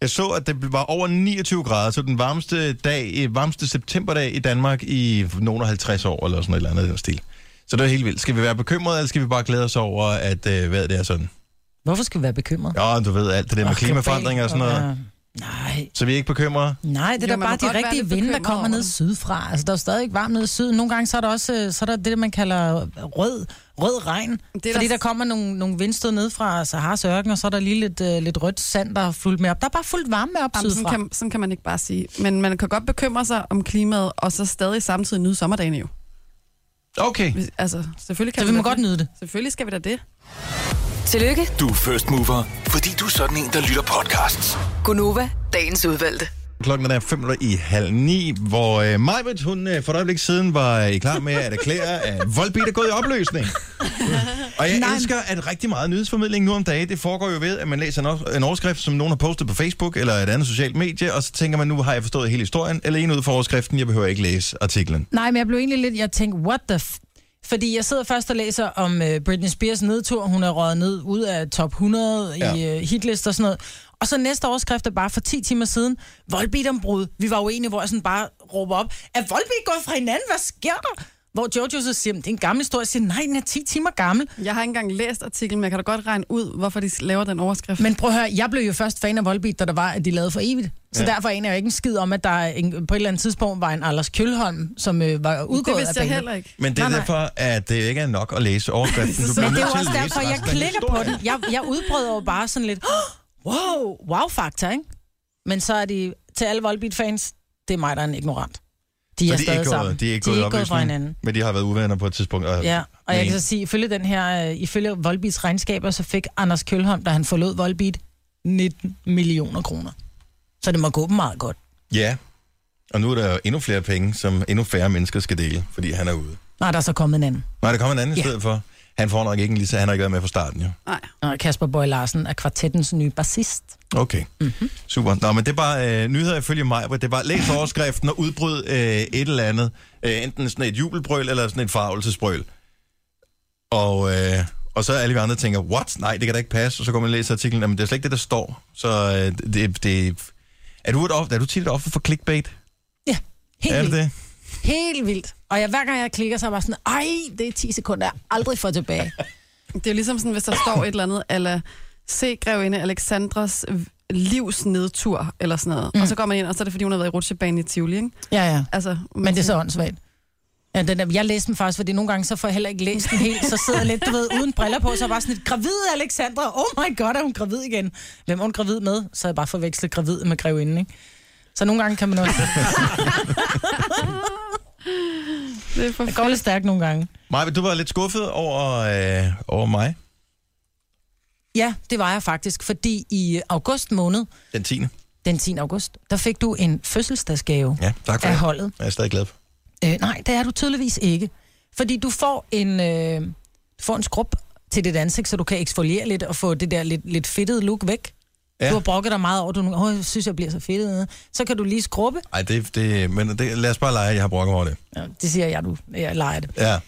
Jeg så, at det var over 29 grader, så den varmeste dag, øh, varmeste septemberdag i Danmark i nogle af 50 år, eller sådan et eller andet i den stil. Så det er helt vildt. Skal vi være bekymrede, eller skal vi bare glæde os over, at øh, vejret det er sådan? Hvorfor skal vi være bekymret? Ja, du ved alt det der med Og klimaforandringer og sådan global, noget. Nej. Så vi er ikke bekymrede? Nej, det er Jo, da man må bare godt de være rigtige lidt vinde, der bekymret kommer over ned det. sydfra. Altså, der er stadig varmt nede syd. Nogle gange så er der også øh, så er der det, man kalder rød, rød regn. Det er fordi der- der... kommer nogle, nogle vindstød ned fra Saharas ørken, og så er der lige lidt, øh, lidt rødt sand, der er fuldt med op. Der er bare fuldt varme med op Jamen, sådan, sydfra. kan, sådan kan man ikke bare sige. Men man kan godt bekymre sig om klimaet, og så stadig samtidig nyde sommerdagen jo. Okay. Altså, selvfølgelig kan Så vi må da godt nyde det. Selvfølgelig skal vi da det. Tillykke, Du er first mover, fordi du er sådan en, der lytter podcasts. Gunova, dagens udvalgte. Klokken er 5 i halv ni, hvor øh, Majbrit, hun øh, for et øjeblik siden var øh, klar med at erklære, at Volbeat er gået i opløsning. Og jeg Nej. elsker, at rigtig meget nyhedsformidling nu om dagen, det foregår jo ved, at man læser en, o- en overskrift, som nogen har postet på Facebook eller et andet socialt medie, og så tænker man, nu har jeg forstået hele historien, eller en ud fra overskriften, jeg behøver ikke læse artiklen. Nej, men jeg blev egentlig lidt... Jeg tænkte, what the... F-? Fordi jeg sidder først og læser om øh, Britney Spears nedtur. Hun er røget ned ud af top 100 ja. i Ja. øh, hitlist og sådan noget. Og så næste overskrift er bare for 10 timer siden. Volbeat-ombrud. Vi var uenige, hvor jeg sådan bare råber op. Er Volbeat gået fra hinanden? Hvad sker der? Hvor Jojo så siger, "Men det er en gammel historie. Jeg siger, nej, den er 10 timer gammel. Jeg har ikke engang læst artiklen, men jeg kan da godt regne ud, hvorfor de laver den overskrift. Men prøv at høre, jeg blev jo først fan af Volbeat, da der var, at de lavede for evigt. Så Ja. ja. derfor aner jeg jo ikke en skid om, at der er en, på et eller andet tidspunkt var en Anders Kjølholm, som øh, var udgået vidste af jeg bandet. heller ikke. Men det er Nej, nej. derfor, at det ikke er nok at læse overskriften. Du bliver Men det nødt er jo til at også læse derfor, jeg resten af klikker på historien. den. Jeg, jeg udbrød jo bare sådan lidt, "Åh, wow, wow-faktor, ikke? Men så er de, til alle Volbeat-fans, det er mig, der er en ignorant. de så er de er stadig ikke sammen. gået, de er ikke gået, de i er ikke gået fra opløsning, hinanden. Men de har været uvenner på et tidspunkt. Og, Ja, og jeg men- kan så sige, ifølge den her, øh, ifølge Volbeats regnskaber, så fik Anders Kølholm, da han forlod Volbeat, 19 millioner kroner. Så det må gå dem meget godt. Ja, og nu er der jo endnu flere penge, som endnu færre mennesker skal dele, fordi han er ude. Nej, der er så kommet en anden. Nej, der kommer en anden i Ja. stedet for. Han får nok ikke en lise, han har ikke været med fra starten, jo. Og Kasper Bøj Larsen er kvartettens nye bassist. Okay, Mhm. mm-hmm. super. Nå, men det er bare øh, nyheder ifølge mig, hvor det er bare læs overskriften og udbryd øh, et eller andet. Øh, enten sådan et jubelbrøl eller sådan et farvelsesbrøl. Og, øh, og så alle vi andre tænker, what? Nej, det kan da ikke passe. Og så går man og læser artiklen, men det er slet ikke det, der står. Så øh, det, det, er, du et offer, er du tit et offer for clickbait? Ja, helt er det vildt. det? Helt vildt. Og jeg, hver gang jeg klikker, så er jeg bare sådan, ej, det er 10 sekunder, jeg aldrig får tilbage. Det er jo ligesom sådan, hvis der står et eller andet, eller se grevinde Alexandras livs nedtur, eller sådan noget. Mm. Og så går man ind, og så er det, fordi hun har været i rutsjebanen i Tivoli, ikke? Ja, ja. Altså, Men det er så åndssvagt. Ja, den der, jeg læste den faktisk, fordi nogle gange så får jeg heller ikke læst den helt, så sidder jeg lidt, du ved, uden briller på, så er jeg bare sådan lidt, gravid Alexandra, oh my god, er hun gravid igen? Hvem er hun gravid med? Så er jeg bare forvekslet gravid med grevinden, ikke? Så nogle gange kan man også... det, er det går lidt stærkt nogle gange. Maja, du var lidt skuffet over, øh, over mig Ja, det var jeg faktisk, fordi i august måned, den 10. den 10. august, der fik du en fødselsdagsgave. Ja, tak for Af det. holdet. Jeg er stadig glad for. Øh, nej, det er du tydeligvis ikke. Fordi du får en, øh, du får en skrub til dit ansigt, så du kan eksfoliere lidt og få det der lidt, lidt fedtede look væk. Ja. Ja. Du har brokket dig meget over, du nu- Åh, jeg synes, jeg bliver så fedtet. Så kan du lige skrubbe. Ej, det, det, men det, lad os bare lege, at jeg har brokket over det. Ja, det siger jeg, du jeg leger det. Ja,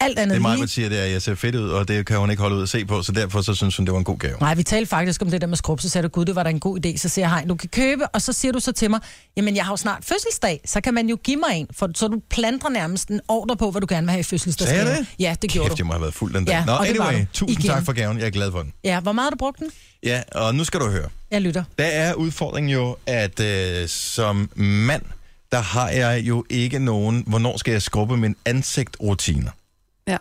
Alt andet det er mig, der lige. siger, det er, at jeg ser fedt ud, og det kan hun ikke holde ud at se på, så derfor så synes hun, det var en god gave. Nej, vi talte faktisk om det der med skrub, så sagde du, gud, det var da en god idé. Så siger jeg, hej, du kan købe, og så siger du så til mig, jamen jeg har jo snart fødselsdag, så kan man jo give mig en, for så du planter nærmest en ordre på, hvad du gerne vil have i fødselsdagsgave. Sagde jeg det? Ja, det gjorde Kæft, du. jeg må have været fuld den dag. Ja, Nå, og det var anyway, du. tusind Igen. tak for gaven. Jeg er glad for den. Ja, hvor meget har du brugt den? Ja, og nu skal du høre. Jeg lytter. Der er udfordringen jo, at øh, som mand, der har jeg jo ikke nogen, hvornår skal jeg skrubbe min ansigtrutiner. Ja.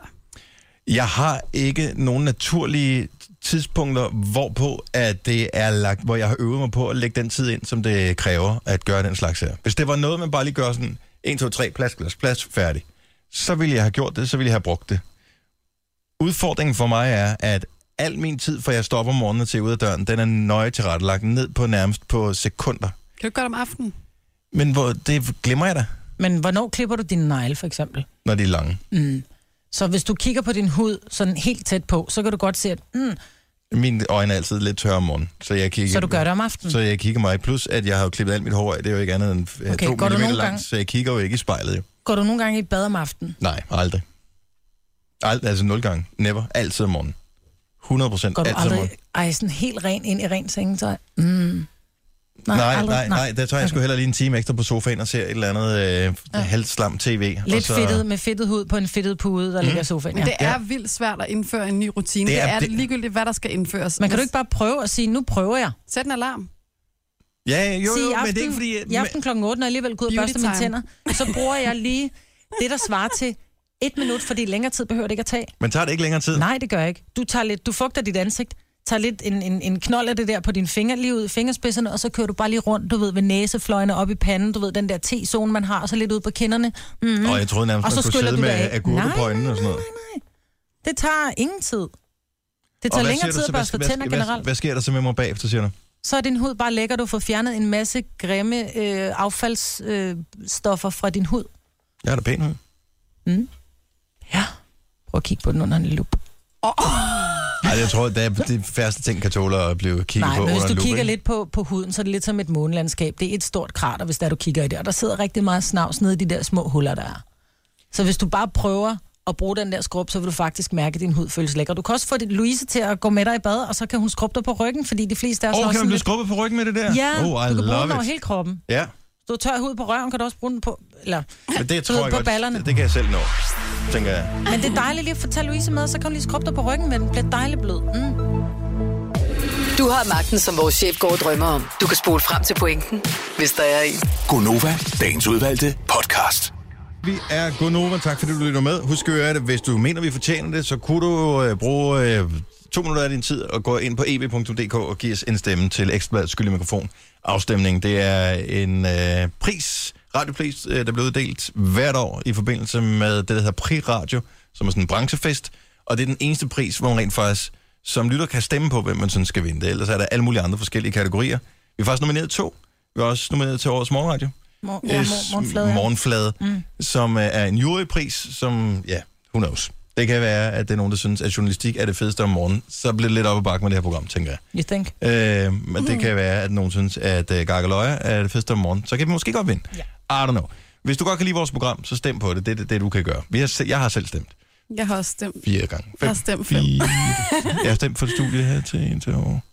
Jeg har ikke nogen naturlige tidspunkter, hvorpå at det er lagt, hvor jeg har øvet mig på at lægge den tid ind, som det kræver at gøre den slags her. Hvis det var noget, man bare lige gør sådan 1, 2, 3, plads, plads, plads, færdig, så ville jeg have gjort det, så ville jeg have brugt det. Udfordringen for mig er, at al min tid, fra jeg stopper om morgenen til ud af døren, den er nøje tilrettelagt ned på nærmest på sekunder. Kan du ikke gøre det om aftenen? Men hvor, det glemmer jeg da, Men hvornår klipper du dine negle, for eksempel? når de er lange. Mm. Så hvis du kigger på din hud sådan helt tæt på, så kan du godt se, at mm, Mine øjne er altid lidt tørre om morgenen, så jeg kigger... så du gør det om aftenen. Så jeg kigger mig. Plus, at jeg har jo klippet alt mit hår af. Det er jo ikke andet end øh, Okay, to går du millimeter nogle langt, gange- så jeg kigger jo ikke i spejlet. Jo. Går du nogle gange i bad om aftenen? Nej, aldrig. Ald, altså nul gange. Never. Altid om morgenen. 100 procent. Går du Altid om aldrig morgenen. ej, sådan helt ren ind i ren sengetøj? Mm. Nej, Nej, nej, nej, nej. Der tager jeg sgu heller lige en time ekstra på sofaen og ser et eller andet øh, halvt slam tv. og Lidt så... fedtet med fedtet hud på en fedtet pude, der mm. ligger i sofaen. Men Ja. det er vildt svært at indføre en ny rutine. Det Det er- er, det er det- ligegyldigt, hvad der skal indføres. Men kan du ikke bare prøve at sige, nu prøver jeg? Sæt en alarm. Ja, jo, Sige, jo, i aften, men det er ikke fordi... I aften klokken 8, når jeg alligevel går ud og Beauty børster mine tænder, time. så bruger jeg lige det, der svarer til et minut, fordi længere tid behøver det ikke at tage. Men tager det ikke længere tid? Nej, det gør jeg ikke. Du, tager lidt, du fugter dit ansigt, tager lidt en, en, en knold af det der på din finger, lige ud i fingerspidserne, og så kører du bare lige rundt, du ved, ved næsefløjene op i panden, du ved, den der T-zone, man har, og så lidt ud på kinderne. Mm-hmm. Og jeg troede nærmest, man skulle sidde med agurke på øjnene og sådan noget. Det tager ingen tid. Det Og hvad tager længere siger du tid så? at børste Hvad- tænder hvad- generelt. Hvad sker der så med mig bagefter, siger du? Så er din hud bare lækker, du får fjernet en masse grimme øh, affaldsstoffer øh, stoffer fra din hud. Jeg er da pæn ud. Mm. Ja. Prøv at kigge på den under en lup. Nej, jeg tror, det er det færreste ting, kan tåle at blive kigget Nej, på men under hvis en du lup, kigger ikke? lidt på, på huden, så er det lidt som et månelandskab. Det er et stort krater, hvis der du kigger i det. Og der sidder rigtig meget snavs nede i de der små huller, der er. Så hvis du bare prøver at bruge den der skrub, så vil du faktisk mærke, at din hud føles lækker. Du kan også få dit Louise til at gå med dig i bad, og så kan hun skrubbe dig på ryggen, fordi de fleste af os Åh, har oh, kan sådan man blive lidt- skrubbet på ryggen med det der? Ja, oh, I du kan bruge love den over it. hele kroppen. Ja, Du er tør hud på røven, kan du også bruge den på... Eller, men det du ved, tror jeg på godt, ballerne. det, det kan jeg selv nå, tænker jeg. Men det er dejligt lige at få tage Louise med, så kan hun lige skrubbe dig på ryggen, men den bliver dejligt blød. Mm. Du har magten, som vores chef går og drømmer om. Du kan spole frem til pointen, hvis der er en. Gonova, dagens udvalgte podcast. Vi er Gonova, tak fordi du lytter med. Husk at gøre det, hvis du mener, vi fortjener det, så kunne du øh, bruge øh, to minutter af din tid og gå ind på eb.dk og give os en stemme til Ekstrabladet Skyldig Mikrofon. Afstemning, det er en øh, pris Radiopris, øh, der bliver uddelt hvert år i forbindelse med det, der hedder Pri-Radio, som er sådan en branchefest. Og det er den eneste pris, hvor man rent faktisk som lytter kan stemme på, hvem man sådan skal vinde. Ellers er der alle mulige andre forskellige kategorier. Vi har faktisk nomineret to. Vi har også nomineret til årets morgenradio. Mor- ja, mor- morgenflade, ja. morgenflade mm. som øh, er en jurypris, som, ja, who knows. Det kan være, at det er nogen, der synes, at journalistik er det fedeste om morgenen. Så bliver det lidt op ad bakke med det her program, tænker jeg. You think? Øh, men det kan være, at nogen synes, at øh, Gargaløje er det fedeste om morgenen. Så kan vi måske godt vinde. Yeah. I don't know. Hvis du godt kan lide vores program, så stem på det. Det er det, det, du kan gøre. Vi har, se- jeg har selv stemt. Jeg har også stemt. Fire gange. Fem, Jeg har stemt fem. Fire. jeg har stemt for et studie her til en til år.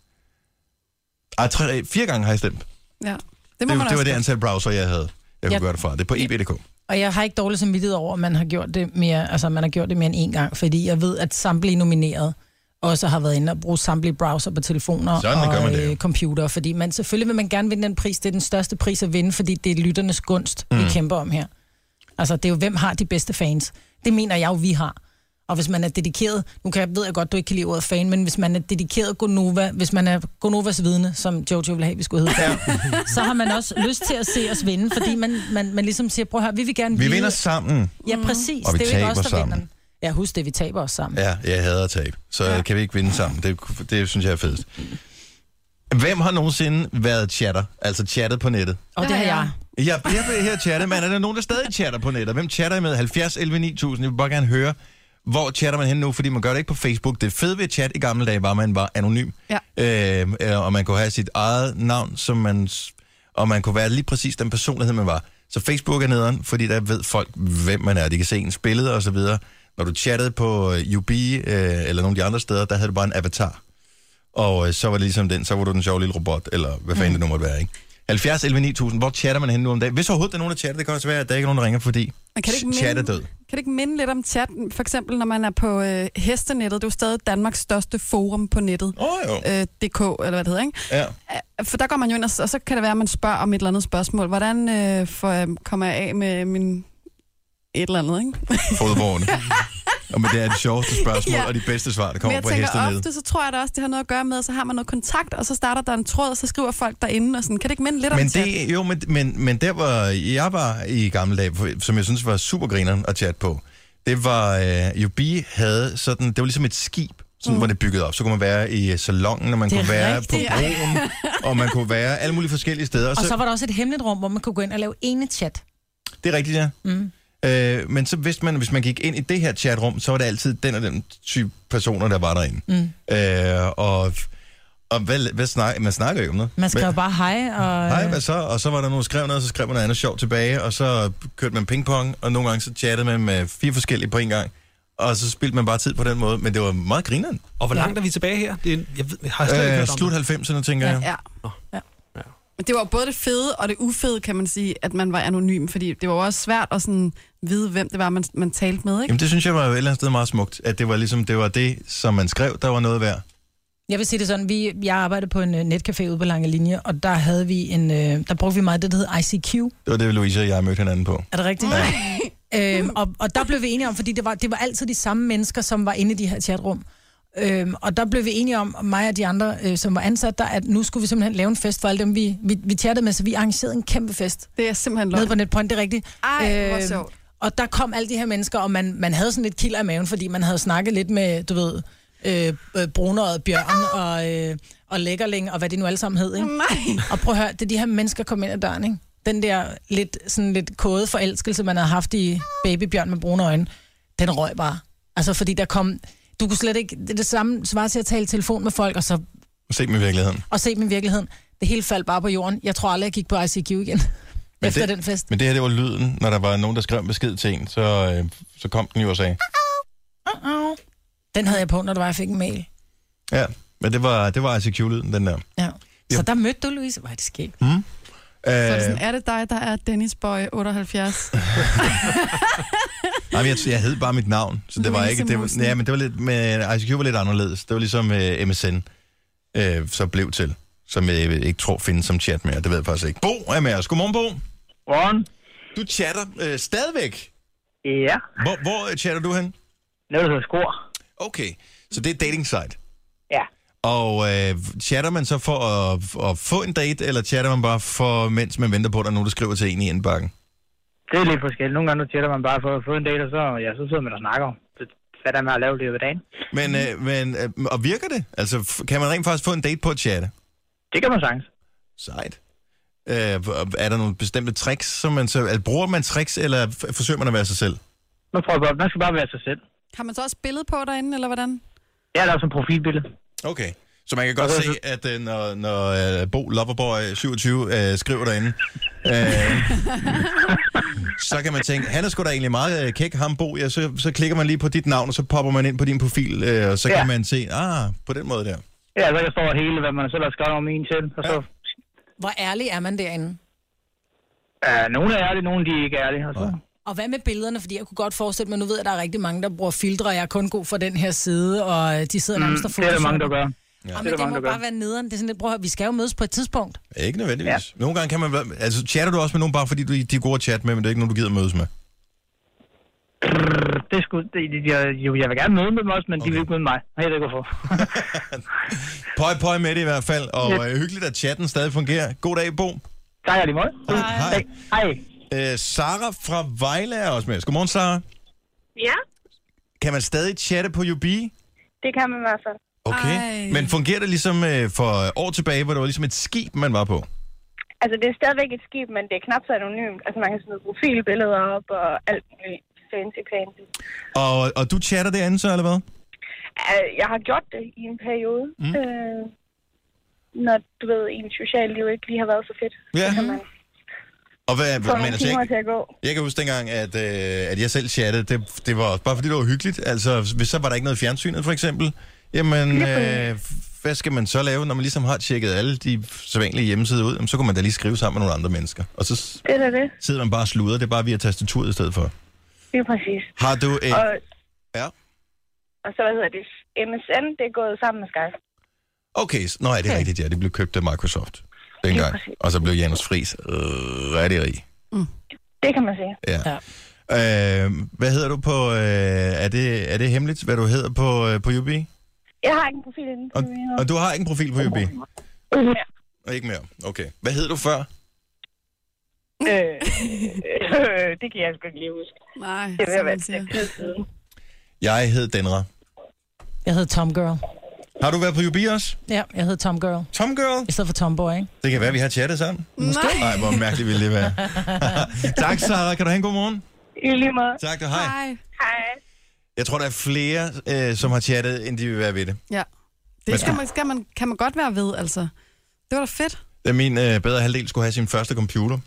Ej, tre, øh, fire gange har jeg stemt. Ja. Det, må det, man det var også det godt. antal browser, jeg havde. Jeg kunne Ja. gøre det fra. Det er på E eb.dk. Og jeg har ikke dårlig samvittighed over, at man har gjort det mere, altså man har gjort det mere end én gang, fordi jeg ved, at samtlige nomineret også har været inde og bruge samtlige browser på telefoner Sådan og gør man det jo. øh, computer, fordi man selvfølgelig vil man gerne vinde den pris. Det er den største pris at vinde, fordi det er lytternes gunst, mm. vi Mm. kæmper om her. Altså, det er jo, hvem har de bedste fans? Det mener jeg jo, vi har. Og hvis man er dedikeret, nu kan jeg, ved jeg godt, du ikke kan lide ordet fan, men hvis man er dedikeret Gonova, hvis man er Gonovas vidne, som Jojo ville have, vi skulle hedde, ja. så har man også lyst til at se os vinde, fordi man, man, man ligesom siger, prøv her, vi vil gerne Vi vide- vinder sammen. Ja, præcis. Og vi det er jo ikke taber os, der sammen. vinder den. Ja, husk det, vi taber os sammen. Ja, jeg hader at tabe. Så ja. kan vi ikke vinde sammen. Det, det synes jeg er fedest. Hvem har nogensinde været chatter? Altså chattet på nettet? Og det har jeg. Jeg bliver ved her chatte, men er der nogen, der stadig chatter på nettet? Hvem chatter I med? 70 11 9000. Jeg vil bare gerne høre, hvor chatter man hen nu? Fordi man gør det ikke på Facebook. Det fede ved at chat i gamle dage var, at man var anonym. Ja. Øh, øh, og man kunne have sit eget navn, som man, s- og man kunne være lige præcis den personlighed, man var. Så Facebook er nederen, fordi der ved folk, hvem man er. De kan se ens billede og så videre. Når du chattede på øh, UB øh, eller nogle af de andre steder, der havde du bare en avatar. Og øh, så var det ligesom den, så var du den sjove lille robot, eller hvad fanden mm. det nu måtte være, ikke? 70 11 9000, hvor chatter man hen nu om dagen? Hvis overhovedet der er nogen, der chatter, det kan også være, at der ikke er nogen, der ringer, fordi Men kan det ikke ch- chat er død. Kan det ikke minde lidt om chat? For eksempel, når man er på øh, hestenettet. Det er jo stadig Danmarks største forum på nettet. Oh, jo. Øh, DK, eller hvad det hedder, ikke? Ja. Øh, For der går man jo ind, og, s- og så kan det være, at man spørger om et eller andet spørgsmål. Hvordan øh, får, jeg- kommer jeg af med min et eller andet, ikke? Fodvogn. og men det er det sjoveste spørgsmål, ja. og de bedste svar, der Men kommer jeg på tænker hesten ned. ofte, så tror jeg da også, det har noget at gøre med, at så har man noget kontakt, og så starter der en tråd, og så skriver folk derinde, og sådan. Kan det ikke minde lidt om Men chat? det, jo, men, men, men der, hvor jeg var i gamle dage, for- som jeg synes var super grineren at chatte på, det var, øh, Jubi havde sådan, det var ligesom et skib, sådan mm. var det bygget op. Så kunne man være i salongen, og man kunne være på broen, og man kunne være alle mulige forskellige steder. Og så var der også et hemmeligt rum, hvor man kunne gå ind og lave ene chat. Det er rigtigt, ja. Mm. Øh, men så vidste man, hvis man gik ind i det her chatrum, så var det altid den og den type personer, der var derinde. Mm. Øh, og og hvad, hvad snak, man snakker jo om noget. Man skrev Hvad- bare øh, hej, og... Hej, hvad så? Og så var der nogen, der skrev noget, og så skrev man noget andet sjovt tilbage, og så kørte man pingpong, og nogle gange så chattede man med fire forskellige på en gang, og så spildte man bare tid på den måde, men det var meget grineren. Og hvor langt er vi tilbage her? Det er, jeg ved, jeg har slet ikke Øh, hørt om slut det. 90'erne, tænker jeg. Ja. ja. Men Det var jo både det fede og det ufede, kan man sige, at man var anonym, fordi det var jo også svært at sådan vide, hvem det var, man, man talte med, ikke? Jamen, det synes jeg var et eller andet sted meget smukt, at det var ligesom, det var det, som man skrev, der var noget værd. Jeg vil sige det sådan, vi, jeg arbejdede på en øh, netcafé ude på Lange Linje, og der havde vi en, øh, der brugte vi meget det, der hedder ICQ. Det var det, Louise og jeg mødte hinanden på. Er det rigtigt? Ja. øhm, og, og der blev vi enige om, fordi det var, det var altid de samme mennesker, som var inde i de her chatrum. Øhm, og der blev vi enige om, mig og de andre, øh, som var ansat der, at nu skulle vi simpelthen lave en fest for alle dem, vi, vi, vi chattede med, så vi arrangerede en kæmpe fest. Det er simpelthen løgn. Nede på Netpoint, det er rigtigt. Øhm, Ej, hvor sjovt. Og der kom alle de her mennesker, og man, man havde sådan lidt kilder i maven, fordi man havde snakket lidt med, du ved, øh, øh, brunøjet bjørn og, øh, og lækkerling, og hvad det nu alle sammen hed, ikke? Nej. Og prøv at høre, det de her mennesker kom ind ad døren, ikke? Den der lidt, sådan lidt kode forelskelse, man havde haft i babybjørn med brune øjne, den røg bare. Altså, fordi der kom... Du kunne slet ikke... Det, er det samme svar til at tale i telefon med folk, og så Se dem i virkeligheden. og se dem i virkeligheden. Det hele faldt bare på jorden. Jeg tror aldrig, jeg gik på ICQ igen. Men efter det, den fest. Men det her, det var lyden, når der var nogen, der skrev en besked til en, så, øh, så kom den jo og sagde. Uh-oh. Den havde jeg på, når det var, jeg fik en mail. Ja, men det var, det var ICQ-lyden, den der. Hmm? Øh, Ja. Så der mødte du, Louise. Hvor er det skægt. Så er Øh, Øh. det sådan, er det dig, der er Dennis Boy 78? nej, men jeg, jeg hed bare mit navn, så det var Louise ikke... Det, var- Mosen. ja, men det var lidt, men ICQ var lidt anderledes. Det var ligesom øh, MSN, øh, så blev til, som jeg ikke tror findes som chat mere. Det ved jeg faktisk ikke. Bo er med os. Godmorgen, Bo. Godmorgen. Du chatter øh, stadigvæk? Ja. Hvor, hvor øh, chatter du hen? Nede hos Skor. Okay, så det er et dating site. Ja. Og øh, chatter man så for at, at få en date, eller chatter man bare for, mens man venter på, at der er nogen, der skriver til en i indbakken? det er lidt forskelligt. Nogle gange tjener man bare for at få en date, og så, ja, så sidder man og snakker om, hvad der er med at lave det ved dagen. Men, øh, men øh, og virker det? Altså, f- kan man rent faktisk få en date på at chatte? Det kan man sagtens. Sejt. Øh, er der nogle bestemte tricks, som man så... Altså, bruger man tricks, eller f- forsøger man at være sig selv? Man prøver bare, man skal bare være sig selv. Har man så også billede på derinde, eller hvordan? Jeg har lavet sådan en profilbillede. Okay. Så man kan godt se, at øh, når, når øh, Bo Loverboy 27 øh, skriver derinde, øh, så kan man tænke, han er sgu da egentlig meget øh, kæk, ham Bo. Ja, så, så klikker man lige på dit navn, og så popper man ind på din profil, øh, og så ja. Ja. kan man se, ah, på den måde der. Ja, så jeg står hele, hvad man selv har skrevet om en til, og så Hvor ærlig er man derinde? Ja, nogle er ærlige, nogle de er ikke ærlige. Og så. Og hvad med billederne? Fordi jeg kunne godt forestille mig, nu ved jeg, at der er rigtig mange, der bruger filtre, og jeg er kun god for den her side, og øh, de sidder Mm, nærmest og det er der mange, der gør. Ja. Ja. Det er der Og men det, mange, må der gør. bare være nederen. Det er sådan lidt, prøv at høre, vi skal jo mødes på et tidspunkt. Ikke nødvendigvis. Ja. Nogle gange kan man... være- Altså, chatter du også med nogen, bare fordi du, de er gode at chatte med, men det er ikke nogen, du gider mødes med? Det er sgu, det, det, jeg, jo, jeg vil gerne møde med dem også, men okay. de vil ikke møde mig. Jeg ved ikke, hvorfor. Pøj, pøj med det i hvert fald, og Ja. øh, hyggeligt, at chatten stadig fungerer. God dag, Bo. Tak, lige måde. Hej. Hej. Øh, Sara fra Vejle er også med os. Godmorgen, Sara. Ja, Kan man stadig chatte på UB? det kan man i hvert fald. Okay. Ej. Men fungerer det ligesom øh, for år tilbage, hvor det var ligesom et skib, man var på? Altså, det er stadigvæk et skib, men det er knap så anonymt. Altså, man kan smide profilbilleder op og alt muligt fancy fancy. Og, og du chatter derinde så, eller hvad? Øh, Jeg har gjort det i en periode, mm. øh, når, du ved, ens socialliv ikke lige har været så fedt. Ja. Så kan man Og hvad, få men nogle altså, timer jeg, til at gå. jeg kan huske dengang, at, øh, at jeg selv chattede. Det, det var også bare fordi, det var hyggeligt. Altså, hvis så var der ikke noget i fjernsynet, for eksempel. Jamen, Ja. øh, hvad skal man så lave, når man ligesom har tjekket alle de sædvanlige hjemmesider ud? Jamen, så kunne man da lige skrive sammen med nogle andre mennesker. Og så s- Det er da det. sidder man bare og sluder. Det er bare via tastaturet i stedet for. Det er præcis. Har du et... Og, Ja. og så, hvad hedder det? MSN, det er gået sammen med Skype. Okay, s- nå ja, det er rigtigt, ja. Det blev købt af Microsoft dengang. Og så blev Janus Friis øh, rigtig rig. Det kan man sige. Ja. ja. Øh, hvad hedder du på... Øh, er, det, er det hemmeligt, hvad du hedder på, øh, på UB? Jeg har ikke en profil inden. Og, og du har ikke en profil på UB? Ja. Og ikke mere. Okay. Hvad hed du før? øh, øh, det kan jeg sgu ikke lige huske. Nej, det vil som være man siger. et stykke tid siden. Jeg hed Denra. Jeg hedder Tom Girl. Har du været på UB også? Ja, jeg hedder Tom Girl. Tom Girl? I stedet for Tomboy, ikke? Det kan være, vi har chattet sammen. Måske. Nej. Nej, hvor mærkeligt ville det være. tak, Sara. Kan du have en god morgen? I lige måde. Tak, og hej. Hej. Hej. Jeg tror, der er flere, øh, som har chattet, end de vil være ved det. Ja. Men- Det skal man, skal man, kan man godt være ved, altså. Det var da fedt. Da min øh, bedre halvdel skulle have sin første computer,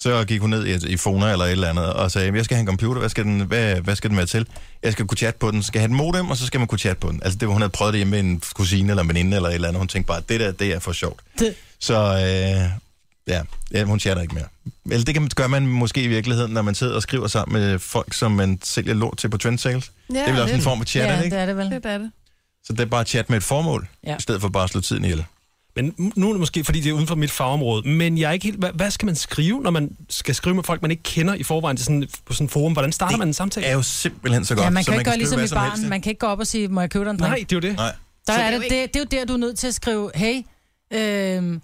så gik hun ned i, i Fona eller et eller andet og sagde, jeg skal have en computer, hvad skal, den, hvad, hvad skal den være til? Jeg skal kunne chatte på den, så skal jeg have et modem, og så skal man kunne chatte på den. Altså det, var- hun havde prøvet det hjemme med en kusine eller en veninde eller et eller andet, hun tænkte bare, det der, det er for sjovt. Det. Så øh, ja, ja, hun chatter ikke mere. Eller det kan, gør man måske i virkeligheden, når man sidder og skriver sammen med folk, som man sælger lort til på trendsales. Ja, det er vel også en form for chat, er det ikke? er det vel. Det er det. Så det er bare chat med et formål, ja. Ja. i stedet for bare at slå tiden ihjel. Men m- nu er det måske, fordi det er uden for mit fagområde, men jeg er ikke helt... Hvad, hvad skal man skrive, når man skal skrive med folk, man ikke kender i forvejen til sådan, på sådan en forum? Hvordan starter det man en samtale? er jo simpelthen så godt, ja, man kan ikke gøre skrive ligesom hvad i som helst. baren. Man kan ikke gå op og sige, må jeg købe dig en drink? Nej, det er jo det. Nej. Der Så er det er det, det, det er jo der, du er nødt til at skrive, hey, øhm,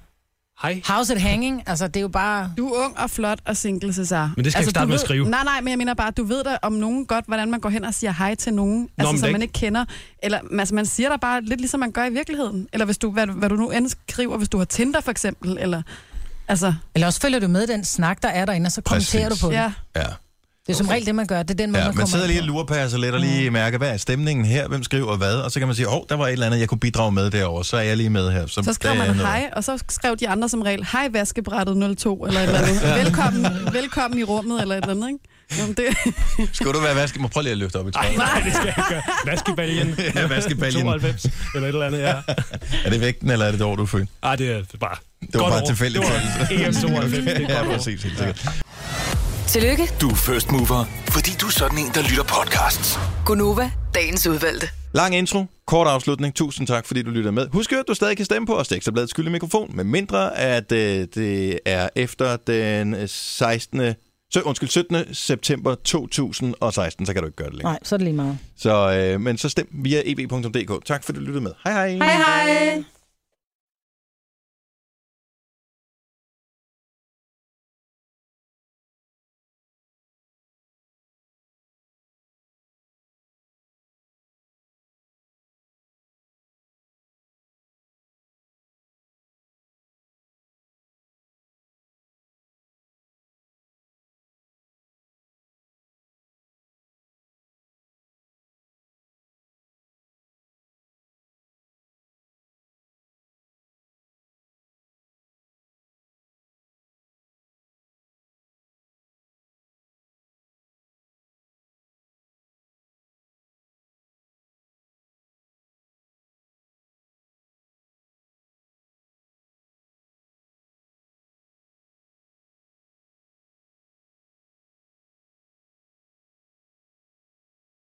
Hej. how's it hanging? Altså, det er jo bare... Du er ung og flot og single, Cesar. Altså, Men det skal jeg ikke starte du med at ved- skrive. Nej, nej, men jeg mener bare, du ved da om nogen godt, hvordan man går hen og siger hej til nogen, Nå, altså, men som det man ikke- ikke kender. Eller altså, man siger der bare lidt ligesom man gør i virkeligheden. Eller hvis du, hvad, hvad du nu end skriver, hvis du har Tinder for eksempel. Eller, altså, Eller også følger du med i den snak, der er derinde, og så kommenterer Præcis. du på det. Ja. Ja. Det er som regel det, man gør. Det er den måde, Ja, man man kommer sidder ind lige på. Mm. og lurepasser lidt og lige mærker, hvad er stemningen her, hvem skriver hvad, og så kan man sige, åh, oh, der var et eller andet, jeg kunne bidrage med derovre, så er jeg lige med her. så skrev der er man noget. hej, og så skrev de andre som regel, hej vaskebrættet 02, eller et eller andet. Ja. velkommen, velkommen i rummet, eller et eller andet, ikke? Jamen, det, Skulle du være vaske? Må prøve lige at løfte op i trøjen. Nej, det skal jeg ikke gøre. Vaskebaljen. Ja, vaskebaljen. 92, eller et eller andet, ja. Er det vægten, eller er det det år, du er født? Ej, Ah, det er bare... Det var godt bare over. tilfældigt. Det var E EM 92. Det er et ja, godt år. præcis, helt sikkert. Tillykke, Du er first mover, fordi du er sådan en, der lytter podcasts. Gunova, dagens udvalgte. Lang intro, kort afslutning. Tusind tak, fordi du lytter med. Husk, at du stadig kan stemme på os. Det er Ekstrabladets skyldig mikrofon, med mindre at øh, det er efter den 16. Så, undskyld, 17. september 2016, så kan du ikke gøre det længere. Nej, så er det lige meget. e Så, øh, men så stem via ev.dk. Tak fordi du lyttede med. Hej hej. Hej hej.